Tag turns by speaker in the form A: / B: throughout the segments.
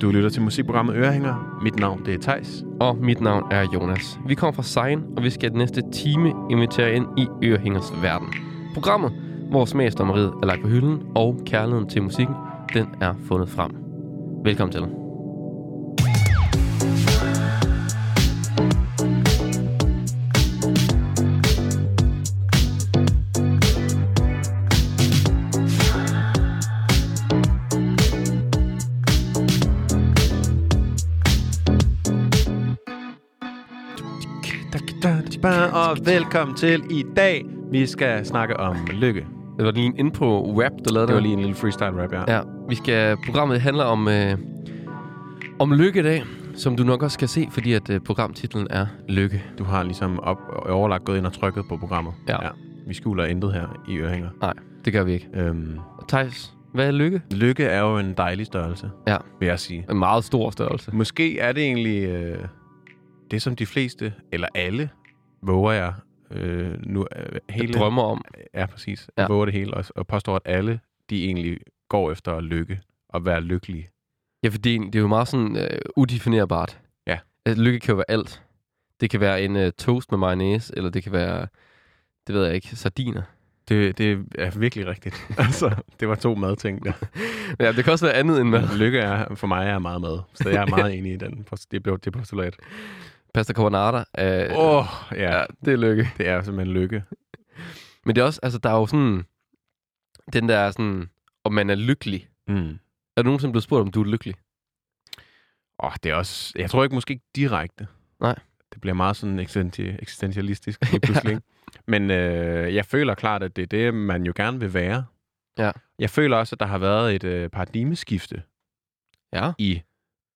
A: Du lytter til musikprogrammet Ørehænger. Mit navn det er Tejs.
B: Og mit navn er Jonas. Vi kommer fra Sein, og vi skal den næste time invitere ind i Ørehængers verden. Programmet, hvor smagsdommeriet er lagt på hylden, og kærligheden til musikken, den er fundet frem. Velkommen til.
A: Og velkommen til i dag. Vi skal snakke om lykke.
B: Det var lige en intro rap, der lavede
A: Det var lige en lille freestyle rap, ja.
B: Ja, vi skal, programmet handler om, øh, om lykke i dag, som du nok også skal se, fordi at øh, programtitlen er Lykke.
A: Du har ligesom op overlagt gået ind og trykket på programmet.
B: Ja.
A: Vi skjuler intet her i Ørehænger.
B: Nej, det gør vi ikke.
A: Øhm,
B: Og Thijs, hvad er lykke?
A: lykke er jo en dejlig størrelse,
B: Ja.
A: vil jeg sige.
B: En meget stor størrelse.
A: Måske er det egentlig øh, det, som de fleste, eller alle, våger jeg øh, nu øh, hele...
B: Hele. drømmer om.
A: Ja, præcis.
B: Ja.
A: Ja. Våger det hele og, og påstår, at alle, de egentlig går efter at lykke og være lykkelige.
B: Ja, fordi det er jo meget sådan øh, udefinerbart.
A: Ja.
B: Altså, lykke kan jo være alt. Det kan være en øh, toast med mayonnaise, eller det kan være, det ved jeg ikke, sardiner.
A: Det, det er virkelig rigtigt. altså, det var to madting. Der.
B: Ja, det kan også være andet end mad.
A: Lykke er, for mig er meget mad, så jeg er meget enig i den. post- Det blev det postulat.
B: Pasta carbonara. Øh,
A: Åh, oh,
B: ja.
A: ja.
B: det er lykke.
A: Det er simpelthen lykke.
B: Men det er også, altså, der er jo sådan, den der sådan, om man er lykkelig.
A: Mm.
B: Er du nogensinde blevet spurgt, om du er lykkelig?
A: Oh, det er også, jeg tror ikke måske ikke direkte.
B: Nej.
A: Det bliver meget sådan eksistenti- eksistentialistisk lige pludselig. ikke? Men øh, jeg føler klart, at det er det, man jo gerne vil være.
B: Ja.
A: Jeg føler også, at der har været et øh, paradigmeskifte
B: Ja.
A: i,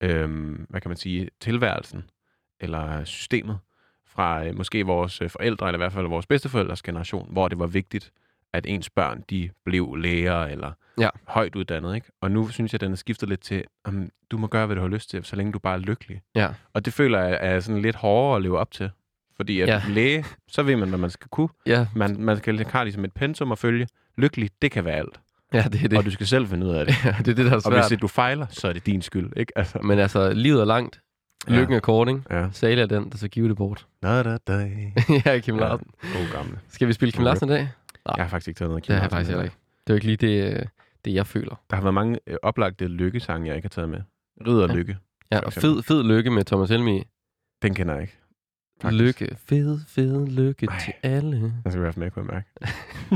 A: øhm, hvad kan man sige, tilværelsen eller systemet fra øh, måske vores øh, forældre, eller i hvert fald vores bedsteforældres generation, hvor det var vigtigt, at ens børn, de blev læger eller
B: Ja.
A: højt uddannet, ikke? Og nu synes jeg, den er skiftet lidt til, om du må gøre, hvad du har lyst til, så længe du bare er lykkelig.
B: Ja.
A: Og det føler jeg er sådan lidt hårdere at leve op til. Fordi at
B: Ja.
A: ja. læge, så ved man, hvad man skal kunne.
B: Ja,
A: Man, man skal have ligesom et pensum at følge. Lykkelig, det kan være alt.
B: ja det er
A: Det.
B: det.
A: Og du skal selv finde ud af det.
B: det er det, der er
A: Og hvis
B: svært.
A: det, du fejler, så er det din skyld, ikke? Altså.
B: Men altså, livet er langt.
A: Ja.
B: Lykken er kort, ikke?
A: Ja.
B: Sale er den, der så giver det bort.
A: Da, da, da.
B: ja, Kim Larsen.
A: God gamle.
B: Skal vi spille Kim
A: Okay.
B: Larsen i dag?
A: Jeg har faktisk ikke taget noget af
B: Det har jeg
A: Kim
B: faktisk
A: Larsen
B: heller
A: med.
B: ikke. Det er jo ikke lige det, øh, det jeg føler.
A: Der har været mange øh, oplagte lykkesange, jeg ikke har taget med. Rid og
B: Ja.
A: lykke.
B: Ja,
A: For
B: og
A: eksempel.
B: fed, fed lykke med Thomas Helmi.
A: Den kender jeg ikke. Faktisk.
B: Lykke. Fed, fed lykke
A: Ej.
B: Ej. til alle.
A: Den skal vi have med, kunne jeg mærke.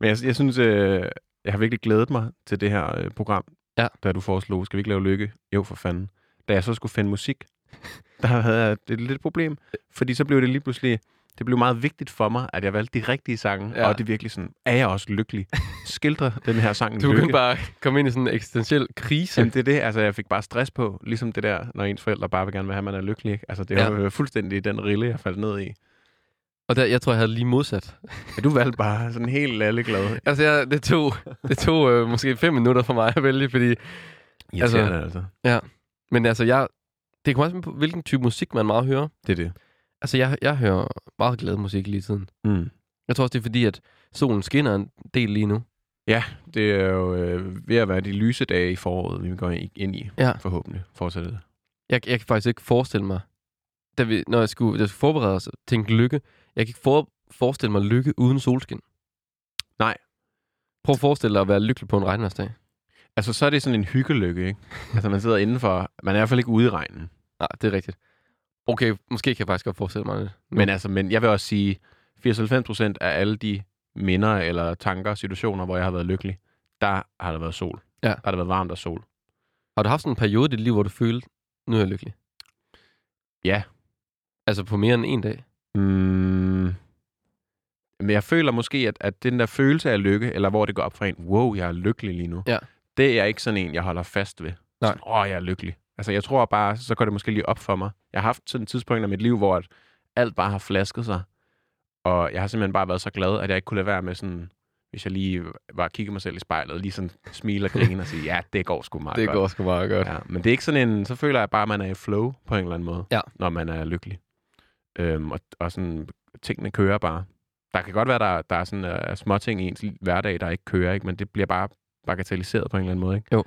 A: Men jeg, jeg synes, øh, jeg har virkelig glædet mig til det her øh, program,
B: Ja.
A: da du foreslog, skal vi ikke lave lykke? Jo, for fanden. Da jeg så skulle finde musik, der havde jeg et lidt problem, fordi så blev det lige pludselig, det blev meget vigtigt for mig, at jeg valgte de rigtige sange,
B: Ja.
A: ja. og det er virkelig sådan, er jeg også lykkelig? Skildrer den her sang
B: Du kan
A: lykke?
B: bare komme ind i sådan en eksistentiel krise.
A: Jamen, det er det, altså jeg fik bare stress på, ligesom det der, når ens forældre bare vil gerne vil have, at man er lykkelig. Ikke? Altså det er jo fuldstændig den rille, jeg faldt ned i.
B: Og der, jeg tror, jeg havde lige modsat.
A: Ja, du valgte bare sådan helt lalleglad.
B: Altså, jeg, det tog, det tog øh, måske fem minutter for mig at vælge, fordi...
A: Irriterende, altså.
B: Men altså, jeg, det kommer også an på, hvilken type musik man meget hører.
A: Det er det.
B: Altså, jeg, jeg hører meget glad musik lige i tiden.
A: Mm.
B: Jeg tror også, det er fordi, at solen skinner en del lige nu.
A: Det er jo øh, ved at være de lyse dage i foråret, vi går i- ind i,
B: Ja.
A: forhåbentlig. Fortsætter det.
B: Jeg, jeg kan faktisk ikke forestille mig, da vi, når jeg skulle, da jeg skulle forberede os og tænke lykke, jeg kan ikke for, forestille mig lykke uden solskin.
A: Nej.
B: Prøv at forestille dig at være lykkelig på en regnværsdag.
A: Altså, så er det sådan en hyggelykke, ikke? Altså, man sidder indenfor. Man er i hvert fald ikke ude i regnen.
B: Nej, det er rigtigt. Okay, måske kan jeg faktisk godt forestille mig det. nu.
A: Men, altså, men jeg vil også sige, 94 procent af alle de minder eller tanker og situationer, hvor jeg har været lykkelig, der har der været sol.
B: Ja.
A: Der har der været varmt og sol.
B: Har du haft sådan en periode i dit liv, hvor du følte, nu er jeg lykkelig?
A: Ja.
B: Altså på mere end en dag?
A: Mm. Men jeg føler måske, at, at den der følelse af lykke, eller hvor det går op for en, wow, jeg er lykkelig lige nu,
B: Ja.
A: det er jeg ikke sådan en, jeg holder fast ved.
B: Nej.
A: Sådan, Åh, jeg er lykkelig. Altså, jeg tror bare, så går det måske lige op for mig. Jeg har haft sådan et tidspunkt i mit liv, hvor at alt bare har flasket sig, og jeg har simpelthen bare været så glad, at jeg ikke kunne lade være med sådan, hvis jeg lige var kigge mig selv i spejlet, lige sådan smile og grine og sige, ja, det går sgu meget godt.
B: sgu meget godt.
A: Ja, men det er ikke sådan en, så føler jeg bare, at man er i flow på en eller anden måde,
B: Ja.
A: når man er lykkelig. Øhm, og, og sådan, tingene kører bare. Der kan godt være, der, der er sådan uh, små ting i ens hverdag, der ikke kører, ikke? men det bliver bare bagatelliseret på en eller anden måde. Ikke?
B: Jo.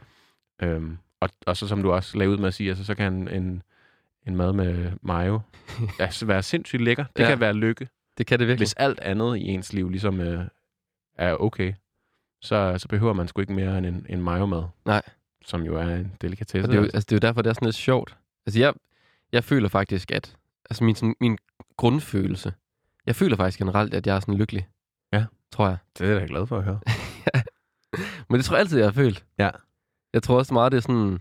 A: Øhm, Og, og så som du også lagde ud med at sige, altså, så kan en, en, en mad med mayo altså, være sindssygt lækker. Det
B: Ja.
A: ja. kan være lykke.
B: Det kan det virkelig.
A: Hvis alt andet i ens liv ligesom øh, er okay, så, så behøver man sgu ikke mere end en, en mayo-mad.
B: Nej.
A: Som jo er en
B: Og
A: delikatesse.
B: det, er jo,
A: altså.
B: altså, det er jo derfor, det er sådan lidt sjovt. Altså, jeg, jeg føler faktisk, at... Altså, min, sådan, min grundfølelse... Jeg føler faktisk generelt, at jeg er sådan lykkelig.
A: Ja.
B: Tror jeg.
A: Det er jeg da glad for at høre.
B: Men det tror jeg altid, jeg har følt.
A: Ja.
B: Jeg tror også meget, det er sådan...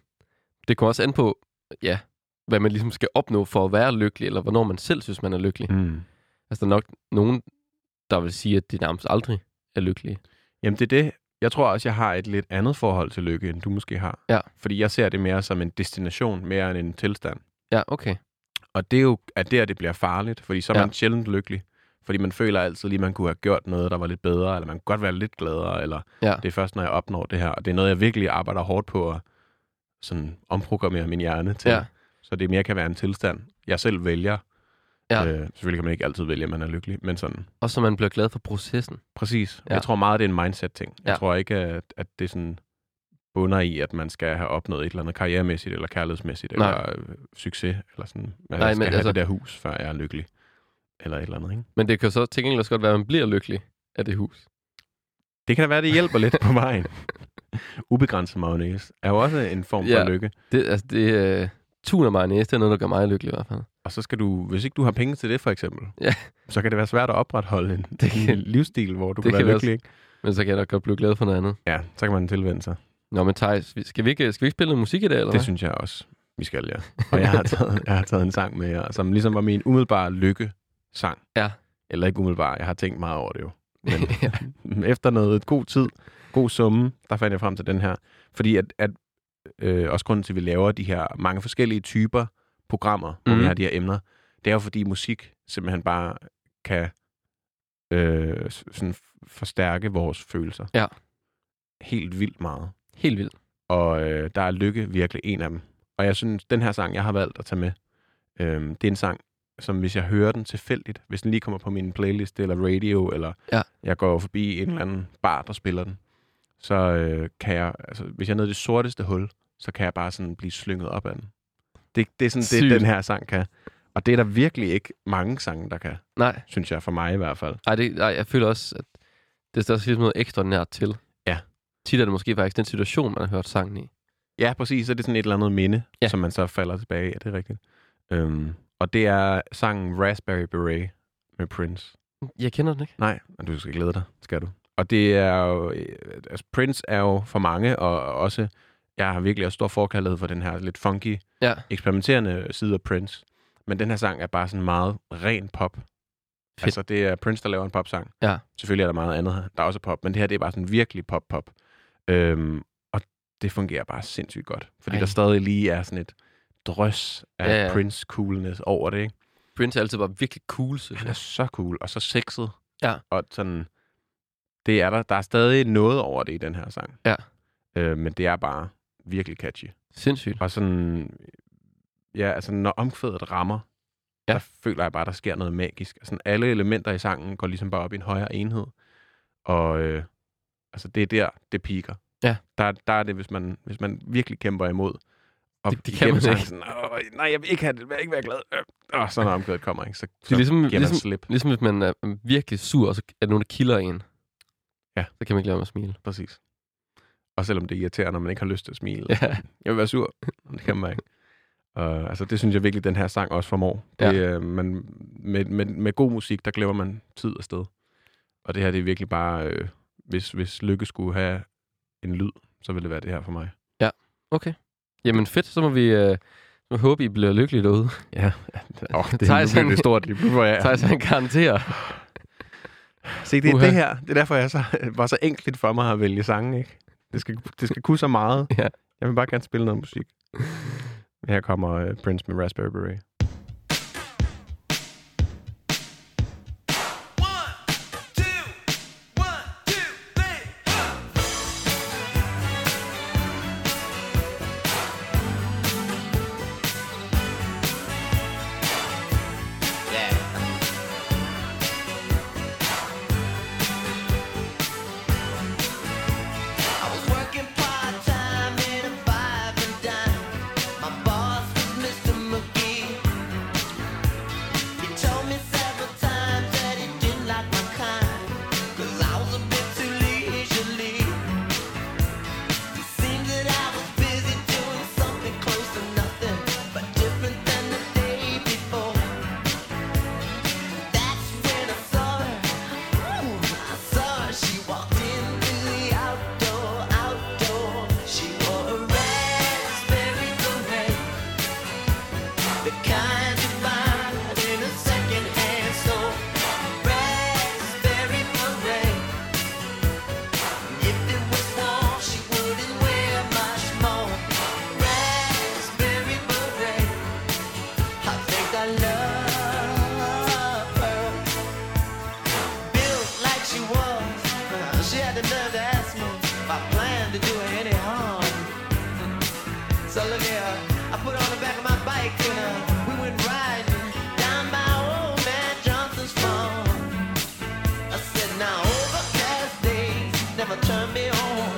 B: Det kommer også an på, ja, hvad man ligesom skal opnå for at være lykkelig, eller hvornår man selv synes, man er lykkelig.
A: Mm.
B: Altså, der er nok nogen, der vil sige, at de nærmest aldrig er lykkelige.
A: Jamen det er det. Jeg tror også, jeg har et lidt andet forhold til lykke, end du måske har.
B: Ja.
A: Fordi jeg ser det mere som en destination, mere end en tilstand.
B: Ja, okay.
A: Og det er jo at der, det bliver farligt, fordi så er
B: Ja.
A: man sjældent lykkelig. Fordi man føler altid lige, at man kunne have gjort noget, der var lidt bedre, eller man kunne godt være lidt gladere, eller
B: Ja.
A: det er først, når jeg opnår det her. Og det er noget, jeg virkelig arbejder hårdt på at sådan omprogrammere min hjerne til.
B: Ja.
A: Så det mere kan være en tilstand, jeg selv vælger.
B: Ja.
A: Øh, selvfølgelig kan man ikke altid vælge, at man er lykkelig, men sådan.
B: Og så man bliver glad for processen.
A: Præcis.
B: Ja.
A: Ja. Jeg tror meget, det er en mindset-ting. Jeg
B: Ja.
A: tror ikke, at, at det sådan bunder i, at man skal have opnået et eller andet karrieremæssigt, eller kærlighedsmæssigt,
B: Nej.
A: eller øh, succes, eller sådan. Man
B: Nej,
A: Nej, skal
B: men
A: have
B: altså-
A: det der hus, før jeg er lykkelig. Eller et eller andet, ikke?
B: Men det kan jo så til gengæld også godt være, at man bliver lykkelig af det hus.
A: Det kan da være, det hjælper lidt på vejen. Ubegrænset mayonnaise er jo også en form for
B: Ja.
A: lykke.
B: Det, altså, det er... Uh, tun og mayonnaise, det er noget, der gør mig lykkelig i hvert fald.
A: Og så skal du, hvis ikke du har penge til det, for eksempel,
B: Ja.
A: så kan det være svært at opretholde en,
B: Det kan-
A: en livsstil, hvor du
B: det
A: kan
B: kan
A: være
B: være
A: lykkelig, ikke?
B: Men så kan jeg da godt blive glad for noget andet.
A: Ja, så kan man tilvende sig.
B: Nå, men Thijs, vi- skal vi ikke, skal vi ikke spille noget musik i dag, eller
A: Det
B: hvad?
A: synes jeg også, vi skal, ja. Og jeg har taget, jeg har taget en sang med jer, som ligesom var min umiddelbare lykke-sang.
B: Ja.
A: Eller ikke umiddelbare, jeg har tænkt meget over det jo. Men efter noget god tid, god summe, der fandt jeg frem til den her. Fordi at, at øh, også grunden til, at vi laver de her mange forskellige typer programmer, hvor
B: Mhm.
A: vi har de her emner, det er jo fordi musik simpelthen bare kan øh, s- sådan f- forstærke vores følelser.
B: Ja.
A: Helt vildt meget
B: Helt vildt.
A: og øh, der er Lykke virkelig en af dem. Og jeg synes, den her sang, jeg har valgt at tage med, øh, det er en sang, som hvis jeg hører den tilfældigt, hvis den lige kommer på min playlist eller radio, eller
B: Ja.
A: jeg går forbi en eller anden bar, der spiller den, så øh, kan jeg, altså hvis jeg er nede i det sorteste hul, så kan jeg bare sådan blive slynget op af den. Det, det er sådan
B: Sygt.
A: det, den her sang kan. Og det er der virkelig ikke mange sange, der kan,
B: Nej,
A: synes jeg, for mig i hvert fald.
B: ej, det, ej, jeg føler også, at det står ligesom noget ekstraordinært til.
A: Ja.
B: Tit er det måske faktisk den situation, man har hørt sangen i.
A: Ja, præcis. Så er det sådan et eller andet minde,
B: Ja.
A: ja. som man så falder tilbage i. Ja, det er rigtigt. Øhm, og det er sangen Raspberry Beret med Prince.
B: Jeg kender den ikke.
A: Nej, men du skal glæde dig, skal du. Og det er jo... øh, Altså, Prince er jo for mange, og også... Jeg har virkelig også stor forkærlighed for den her lidt funky,
B: Ja.
A: eksperimenterende side af Prince. Men den her sang er bare sådan meget ren pop. Fedt. Altså, det er Prince, der laver en popsang.
B: Ja.
A: Selvfølgelig er der meget andet her. Der er også pop, men det her, det er bare sådan virkelig pop-pop. Øhm, og det fungerer bare sindssygt godt. Fordi
B: Ej.
A: Ej. der stadig lige er sådan et drøs af
B: Ja,
A: ja,
B: ja.
A: ja. Prince-coolness over det, ikke?
B: Prince er altid bare virkelig cool, synes
A: Han er
B: jeg.
A: så cool, og så sexet.
B: Ja.
A: Og sådan, det er der. Der er stadig noget over det i den her sang.
B: Ja.
A: Øh, men det er bare virkelig catchy.
B: Sindssygt.
A: Og sådan, ja, altså når omkvædet rammer, ja.
B: Ja.
A: der føler jeg bare, der sker noget magisk. Altså, alle elementer i sangen går ligesom bare op i en højere enhed. Og øh, altså, det er der, det piker.
B: Ja.
A: Der, der er det, hvis man, hvis man virkelig kæmper imod. Og
B: Det- det kan
A: igennem
B: man
A: sangen
B: ikke.
A: Sådan, "Åh, nej, jeg vil ikke have det, jeg vil ikke være glad. Øh, Og så når omkvædet kommer, ikke, så,
B: Det
A: så
B: er ligesom,
A: giver man
B: ligesom,
A: slip.
B: ligesom hvis man er virkelig sur, og så er der nogen, der kilder en.
A: Ja.
B: Så kan man ikke lade mig smile.
A: Præcis. Og selvom det irriterer, når man ikke har lyst til at smile.
B: Ja.
A: Jeg vil være sur. Men Det kan man ikke. Og, altså, det synes jeg virkelig, den her sang også formår. Det, ja. øh, man, med, med, med god musik, der glemmer man tid og sted. Og det her, det er virkelig bare... Øh, hvis, hvis Lykke skulle have en lyd, så ville det være det her for mig.
B: Okay. Jamen fedt, så må vi øh, må håbe, I bliver lykkelige derude.
A: Ja. Oh, det,
B: Thijs,
A: Thijs, nu
B: han-
A: bliver det stort. lige pludselig, hvor jeg
B: Ja.
A: er.
B: Thijs, han garanterer.
A: Se, det er
B: Uha.
A: det her. Det er derfor, jeg så, var så enkelt for mig at vælge sange, ikke? Det skal, det skal kunne så meget.
B: Ja.
A: Jeg vil bare gerne spille noget musik. Her kommer øh, Prince med Raspberry Beret.
C: One, two, one, two, three, four. Yeah. I was working part-time in a five and dime
D: So look here, I put on the back of my bike and uh, we went riding down by old man Johnson's farm. I said, now overcast days never turn me on.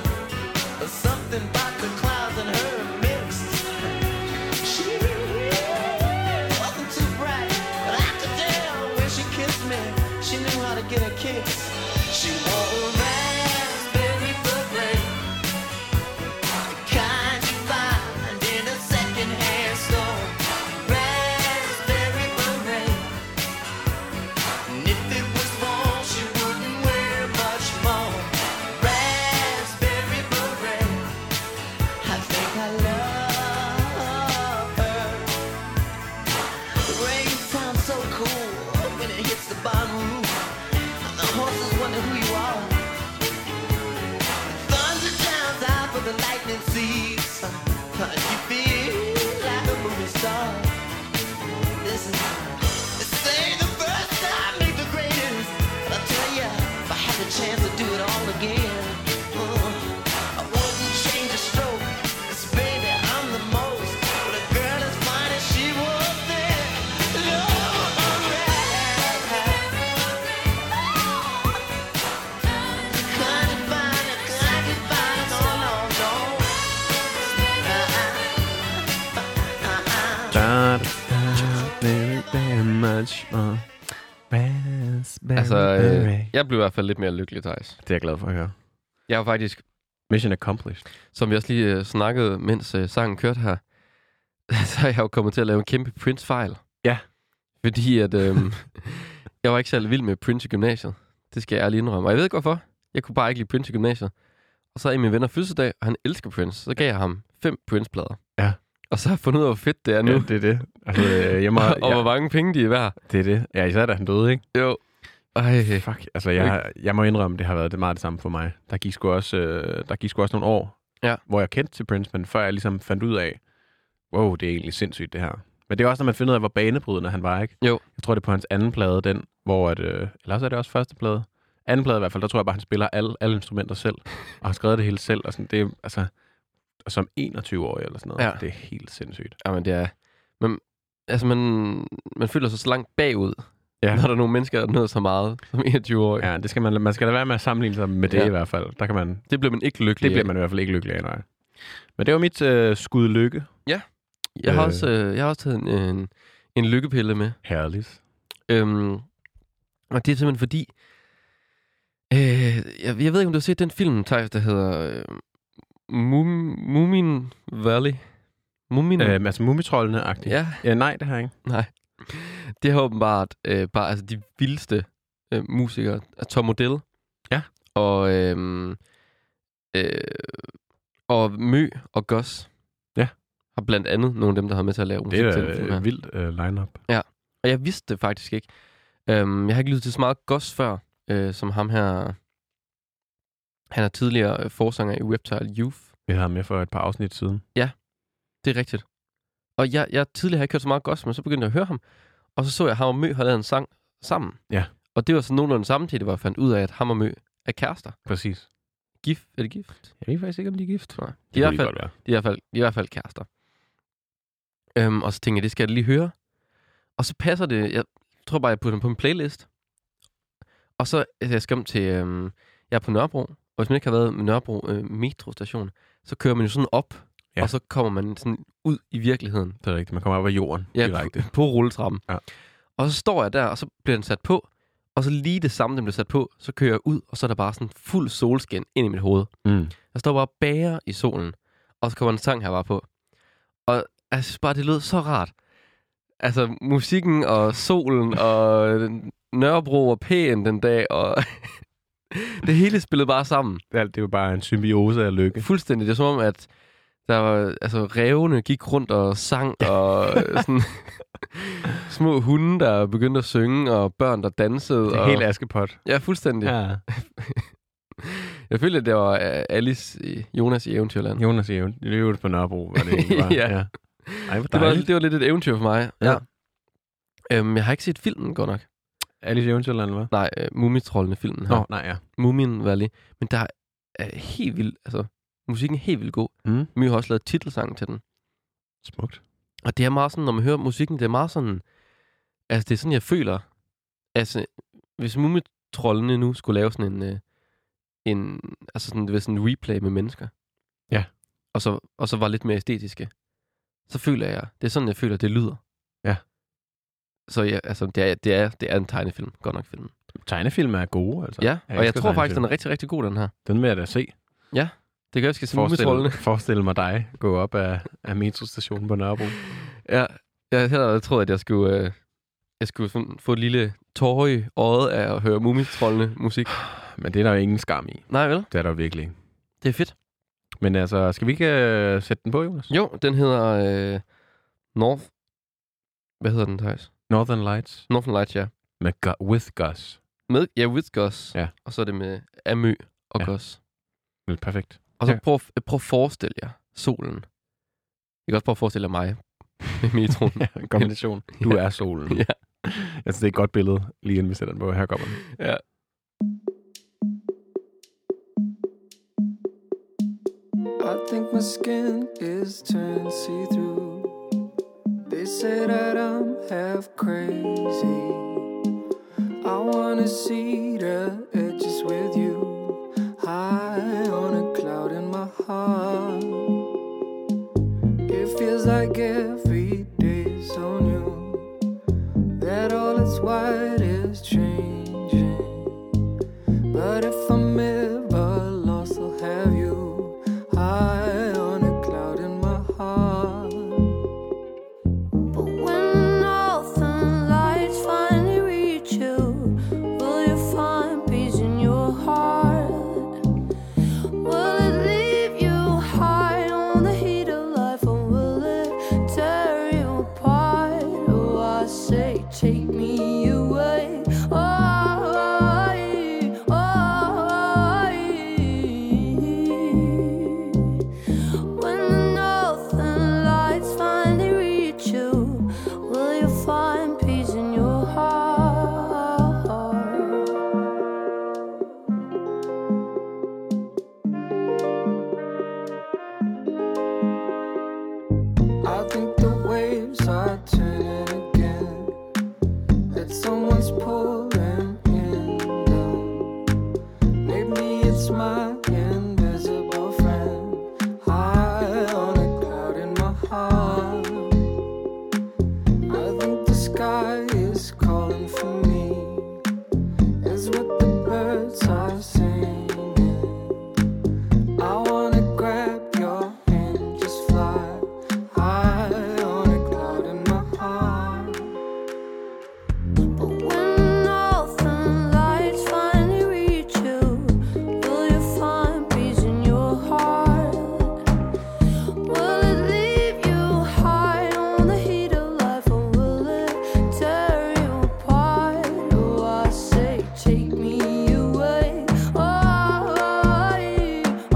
D: But something about the clouds and her mixed. She wasn't too bright, but I could tell when she kissed me, she knew how to get a kiss. She wore a raspberry beret, the kind you find in a secondhand store. Raspberry beret, and if it was wrong, she wouldn't wear much more. Raspberry beret. I think I love her. Rain sounds so cool when it hits the bottom roof. And the horses wonder who you are. Thunder times out for the lightning seeds. You feel like a movie star. This is this ain't the first time, ain't the greatest. But I tell ya, if I had the chance to do it all again, uh, I wouldn't change a stroke. 'Cause baby, I'm the most. But a girl as fine as she was then. Love, Kind of fine, kind of fine, no, no, no. Uh-uh.
A: Da, da, da, very, very much more. Raspberry
B: Altså, øh,
A: beret.
B: jeg blev i hvert fald lidt mere lykkelig, Thijs.
A: Det er jeg glad for at høre.
B: Jeg var faktisk,
A: Mission accomplished.
B: som vi også lige øh, snakkede, mens øh, sangen kørte her, så er jeg jo kommet til at lave en kæmpe Prince-fejl.
A: Ja.
B: Fordi at øh, jeg var ikke særlig vild med Prince i gymnasiet. Det skal jeg lige indrømme. Og jeg ved ikke hvorfor. Jeg kunne bare ikke lide Prince i gymnasiet. Og så er min venner fødselsdag, og han elsker Prince. Så gav jeg ham fem Prince-plader.
A: Ja.
B: Og så har jeg fundet ud af, hvor fedt det er nu.
A: Ja,
B: Ja,
A: det er det. Altså, øh, jeg må,
B: og, og hvor
A: jeg,
B: mange penge de er værd.
A: det er det. Ja, især da han døde, ikke?
B: Jo. Ej,
A: Fuck. Altså, jeg, jeg må indrømme, det har været det meget det samme for mig. Der gik sgu også, øh, der gik sgu også nogle år,
B: Ja.
A: hvor jeg kendte til Prince, men før jeg ligesom fandt ud af, wow, det er egentlig sindssygt, det her. Men det er også, når man finder ud af, hvor banebrydende han var, ikke?
B: Jo.
A: Jeg tror, det er på hans anden plade, den, hvor at, øh, eller også er det også første plade. Anden plade i hvert fald, der tror jeg bare, han spiller alle, alle instrumenter selv, og har skrevet det hele selv, og sådan, det er, altså, og som 21-årig eller sådan noget.
B: Ja.
A: Det er helt sindssygt.
B: Jamen, det er... Men, altså, man, man føler sig så langt bagud,
A: Ja.
B: ja. når der er nogle mennesker, der nåede så meget som 21-årig. Ja.
A: Ja, det skal man, man skal lade være med at sammenligne sig med det
B: Ja.
A: ja. i hvert fald. Der kan man,
B: Det bliver man ikke lykkelig
A: det bliver
B: af.
A: man i hvert fald ikke lykkelig af, nej. Men det var mit øh, skud lykke.
B: Jeg har,
A: Øh.
B: også, øh, jeg har også taget en, en, en lykkepille med.
A: Herligt.
B: Øhm, og det er simpelthen fordi... Øh, jeg, jeg ved ikke, om du har set den film, Thijs, der hedder... Øh, Mum, Mumin Valley. Mumin... Øh,
A: Øh, altså mumitrollene agtigt
B: ja,
A: ja. nej, det har jeg ikke.
B: det er åbenbart øh, bare altså, de vildeste øh, musikere. Tom Odell.
A: Ja.
B: Og, øhm, øh, og Mø og Goss.
A: Ja.
B: Har blandt andet nogle af dem, der har med til at lave musik
A: Det er
B: til den film her.
A: øh, vildt øh, line-up.
B: Og jeg vidste det faktisk ikke. Øhm, jeg har ikke lyttet til så meget Goss før, øh, som ham her. Han er tidligere øh, forsanger i Reptile Youth.
A: Vi havde med for et par afsnit siden.
B: Det er rigtigt. Og jeg, jeg tidligere har ikke hørt så meget gospel, men så begyndte jeg at høre ham. Og så så jeg, at ham og Mø har lavet en sang sammen.
A: Ja.
B: Og det var sådan nogenlunde samtidig, hvor jeg fandt ud af, at ham og Mø er kærester.
A: Præcis.
B: Gift, er det gift?
A: Jeg ved faktisk ikke, om de er gift.
B: Nej. De, er
A: Det
B: i hvert
A: kunne de
B: fald,
A: godt være.
B: de, er i hvert fald, de er i hvert fald kærester. Øhm, og så tænkte jeg, det skal jeg da lige høre. Og så passer det, jeg tror bare, jeg putter dem på en playlist. Og så altså, jeg skal om til, øhm, jeg er på Nørrebro. Og hvis man ikke har været med Nørrebro øh, metrostation, så kører man jo sådan op,
A: Ja.
B: ja. og så kommer man sådan ud i virkeligheden.
A: Det er rigtigt. Man kommer op af jorden ja,
B: Ja,
A: direkte.
B: på, på rulletrappen.
A: Ja.
B: Og så står jeg der, og så bliver den sat på. Og så lige det samme, den bliver sat på, så kører jeg ud, og så er der bare sådan fuld solskin ind i mit hoved.
A: Mm.
B: Jeg står bare og bager i solen, og så kommer en sang her bare på. Og jeg synes bare, det lød så rart. Altså, musikken og solen og den- Nørrebro og pæn den dag, og det hele spillede bare sammen.
A: Alt det er jo bare en symbiose af lykke.
B: Fuldstændig. Det er som om, at der var, altså, rævene gik rundt og sang, og sådan små hunde, der begyndte at synge, og børn, der dansede.
A: Det er
B: og,
A: helt Askepot.
B: Ja, fuldstændig. Ja. Jeg følte, at det var øh, Alice i Jonas i Eventyrland.
A: Jonas i event. Det er jo på Nørrebro, var det egentlig var.
B: Ja.
A: Ej, hvor
B: Det var,
A: dejligt.
B: det var lidt et eventyr for mig.
A: Ja.
B: Øhm, jeg har ikke set filmen godt nok.
A: Alice i Eventyrland, hva'?
B: Nej, øh, Mumitrollene filmen her.
A: Nå,
B: Oh.
A: nej, ja.
B: Mumien Valley. Men der er helt vildt, altså musikken er helt vildt god.
A: Mm.
B: My har også lavet titelsangen til den.
A: Smukt.
B: Og det er meget sådan, når man hører musikken, det er meget sådan... Altså, det er sådan, jeg føler... Altså, hvis Mumitrollene nu skulle lave sådan en... Øh, en altså sådan, du ved, sådan en replay med mennesker.
A: Ja.
B: Og så, og så var lidt mere æstetiske. Så føler jeg... Det er sådan, jeg føler, det lyder.
A: Ja.
B: Så ja, altså, det er, det er, det er en tegnefilm. Godt nok filmen.
A: Tegnefilm er gode, altså.
B: Ja, og jeg
A: elsker
B: tror faktisk,
A: tegnefilm.
B: den er rigtig, rigtig god, den her.
A: Den vil jeg da se.
B: Det kan jeg, vi skal se Mumitrollene.
A: Forestil, forestil mig dig gå op af, af metrostationen på Nørrebro.
B: Ja, jeg havde allerede troet, at jeg skulle, øh, jeg skulle sådan få et lille tårer i øjet af at høre mumitrollene musik.
A: Men det er der jo ingen skam i.
B: Nej vel,
A: Det er der jo virkelig ikke.
B: det er fedt.
A: Men altså, skal vi ikke uh, sætte den på, Jonas?
B: Jo, den hedder øh, North... Hvad hedder den, Thijs?
A: Northern Lights
B: Northern Lights, ja.
A: med Gu- With Gus.
B: Med, ja, with Gus.
A: Ja.
B: Og så er det med Amø og
A: Ja.
B: ja. Gus.
A: Vel, Perfekt.
B: Og så
A: Ja.
B: prøv, prøv at forestille jer solen. I kan også prøve at forestille jer mig med metroen.
A: Ja, kombination. Du er solen.
B: Ja.
A: Altså, det er et godt billede, lige inden vi sætter den på. Her kommer den.
B: Ja.
E: I think my skin is turned see through. They say that I'm half crazy. I wanna see the edges with you. High on a cloud in my heart. It feels like every day's so new. That all that's white is changing. But if I'm ever lost, I'll have you high on a cloud in my heart.
F: But when northern lights finally reach you, will you find peace in your heart? Will it leave you high on the heat of life, or will it tear you apart? Oh, I say, take me away. Oh, I- oh, I- when the northern lights finally reach you, will you find peace in your heart?
E: I think the waves are turning again. That someone's pulling in them. Maybe it's my invisible friend. High on a cloud in my heart. I think the sky is calling for me. Is what the birds are singing. I wanna grab your hand, just fly high on a cloud in my heart.
F: But when northern lights finally reach you, will you find peace in your heart? Will it leave you high on the heat of life, or will it tear you apart? Oh, I say, take me away. Oh, I, oh, I.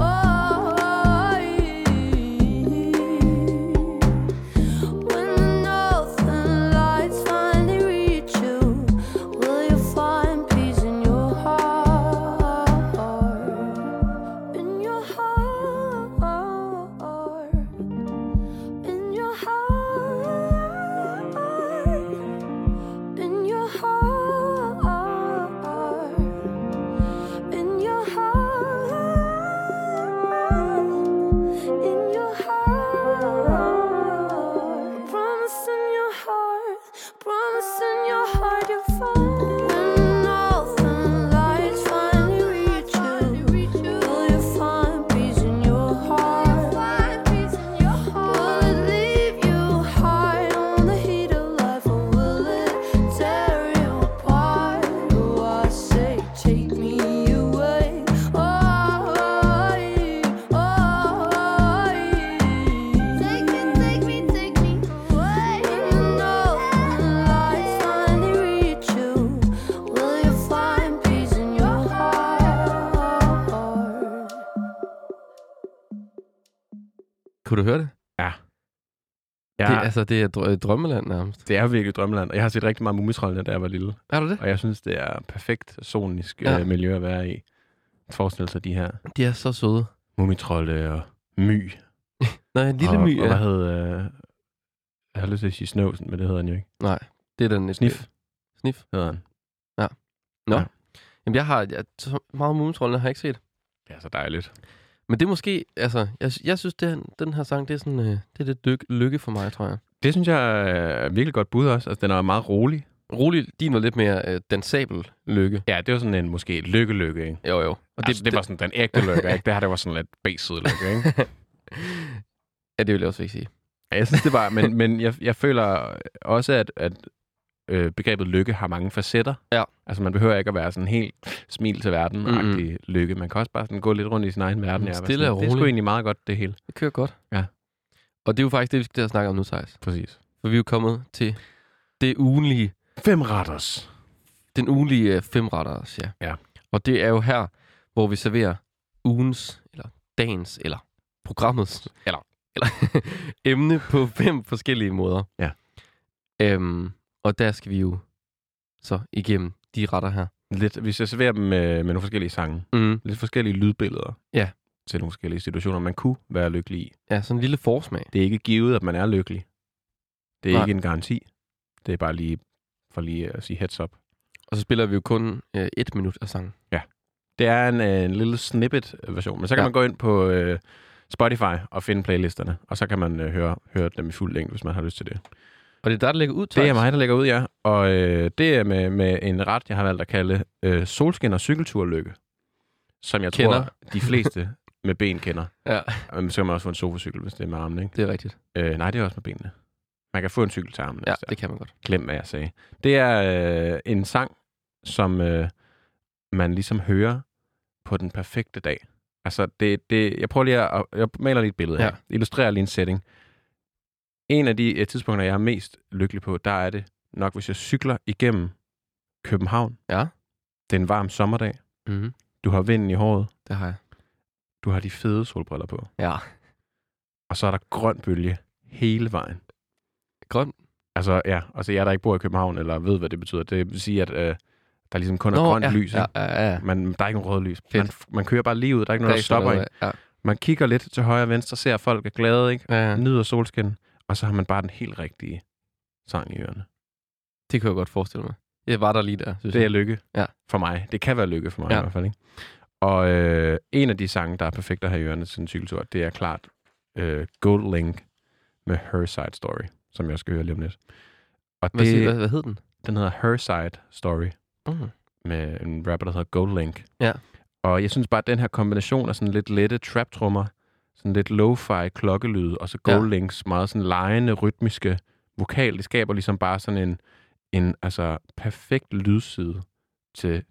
F: When the northern lights finally reach you, will you find peace in your heart? In your heart, in your heart, in your heart, in your heart. In your heart, promise in your heart, promise in your heart you find. When northern lights finally reach you, will you find peace in your heart? Will it leave you high on the heat of life, or will it tear you apart? Oh, I say, take me away. Oh, Take me, take me, take me away. lights finally reach you, will you find peace in your heart?
B: Kunne du høre det?
A: Ja,
B: det altså, det er dr- drømmeland nærmest.
A: det er virkelig drømmeland. Og jeg har set rigtig meget mumitrollene, da jeg var lille.
B: Er du det?
A: Og jeg synes, det er perfekt sonisk ja.
B: Ja.
A: øh, miljø at være i. Forestil sig de her
B: De er så søde.
A: mumitrolde og my.
B: Nå, en lille
A: og,
B: my,
A: Og hvad
B: ja.
A: hed øh, Jeg har lyst til at sige Snøvsen, men det hedder han jo ikke.
B: Nej, det er den... øh,
A: Øh, Snif.
B: Snif.
A: Hedder han.
B: Nå.
A: Ja.
B: Jamen, jeg har jeg, så meget mumitrollene har jeg ikke set.
A: Det er så dejligt.
B: Men det er måske, altså, jeg, jeg synes, det, er- den her sang, det er sådan, øh, det er lidt lyk, lykke for mig, tror jeg.
A: Det synes jeg øh, er virkelig godt bud også. Altså, den er meget rolig.
B: Rolig, din var lidt mere øh, dansabel lykke.
A: Ja, det var sådan en måske lykke-lykke, ikke?
B: Jo, jo.
A: Og det, altså, det, var sådan den ægte lykke, ikke? Det her, det var sådan lidt basede lykke, ikke?
B: Ja, det vil jeg også ikke sige.
A: Ja, Jeg synes, det var... Men, men jeg, jeg føler også, at, at øh, begrebet lykke har mange facetter.
B: Ja.
A: Altså, man behøver ikke at være sådan helt smil til verden mm lykke. Man kan også bare sådan gå lidt rundt i sin egen verden.
B: Mm,
A: ja, være
B: stille
A: sådan,
B: og
A: Det er sgu
B: roligt.
A: egentlig meget godt, det hele.
B: Det kører godt.
A: Ja.
B: Og det er jo faktisk det, vi skal til at snakke om nu, Thijs.
A: Præcis.
B: For vi er jo kommet til det ugenlige,
A: Fem retters.
B: den ugenlige øh, femretters, ja.
A: Ja.
B: Og det er jo her, hvor vi serverer ugens, eller dagens, eller programmets, eller, eller emne på fem forskellige måder.
A: Ja.
B: Øhm, og der skal vi jo så igennem de retter her.
A: Lidt, hvis jeg serverer dem med, med nogle forskellige sange.
B: Mm.
A: Lidt forskellige lydbilleder.
B: Ja.
A: Til nogle forskellige situationer, man kunne være lykkelig i.
B: Ja, sådan en lille forsmag.
A: Det er ikke givet, at man er lykkelig. Det er
B: Nej.
A: Nej. ikke en garanti. Det er bare lige for lige at sige heads up.
B: Og så spiller vi jo kun øh, et minut af sangen.
A: Det er en, øh, en lille snippet-version, men så kan
B: Ja.
A: ja. man gå ind på øh, Spotify og finde playlisterne, og så kan man øh, høre, høre dem i fuld længde, hvis man har lyst til det.
B: Og det er der, der ligger ud,
A: Det er
B: Theis.
A: mig, der lægger ud, ja. Og øh, det er med, med en ret, jeg har valgt at kalde øh, solskin og cykelturlykke, som jeg
B: Kender.
A: tror, de fleste med ben kender.
B: Ja,
A: Men så kan man også få en sofacykel, hvis det er med armene, ikke?
B: det er rigtigt.
A: Øh, nej, det er også med benene. Man kan få en cykel til armene.
B: Ja,
A: hvis det er.
B: det kan man godt.
A: Glem, hvad jeg sagde. Det er øh, en sang, som øh, man ligesom hører på den perfekte dag. Altså, det, det, jeg prøver lige at... Jeg maler lige et billede her.
B: Ja.
A: Ja. Illustrerer lige en setting. En af de øh, tidspunkter, jeg er mest lykkelig på, der er det nok, hvis jeg cykler igennem København.
B: Ja.
A: Det er en varm sommerdag.
B: Mm-hmm.
A: Du har vinden i håret.
B: Det har jeg.
A: Du har de fede solbriller på.
B: Ja.
A: Og så er der grøn bølge hele vejen.
B: Grøn.
A: Altså, ja. Altså, jeg der ikke bor i København, eller ved, hvad det betyder. Det vil sige, at øh, der ligesom kun er grønt
B: ja,
A: lys.
B: Ja,
A: Ja.
B: ja, ja. ja.
A: Man, der er ikke nogen røde lys. Man,
B: Fedt.
A: man kører bare lige ud. Der er ikke noget, der
B: ikke sådan
A: stopper en.
B: noget, Ja.
A: Man kigger lidt til højre og venstre, ser at folk er glade, ikke?
B: Ja, ja.
A: Nyder solskin. Og så har man bare den helt rigtige sang i ørerne.
B: Det kan jeg godt forestille mig. Jeg var der lige der, synes
A: Det er
B: jeg.
A: lykke
B: Ja.
A: for mig. Det kan være lykke for mig
B: Ja.
A: ja. i hvert fald, ikke? Og øh, en af de sange, der er perfekt at have i ørerne til en cykeltur, det er klart øh, Gold Link med Her Side Story, som jeg også skal høre lige om lidt. Og
B: Hvad, siger,
A: det,
B: hvad, hvad hed den?
A: den hedder Her Side Story.
B: Mm.
A: med en rapper, der hedder Gold Link.
B: Ja.
A: Og jeg synes bare, at den her kombination af sådan lidt lette trap-trummer, sådan lidt lo-fi klokkelyd, og så Gold
B: Ja.
A: ja. Links meget sådan lejende, rytmiske vokal, det skaber ligesom bare sådan en, en altså, perfekt lydside til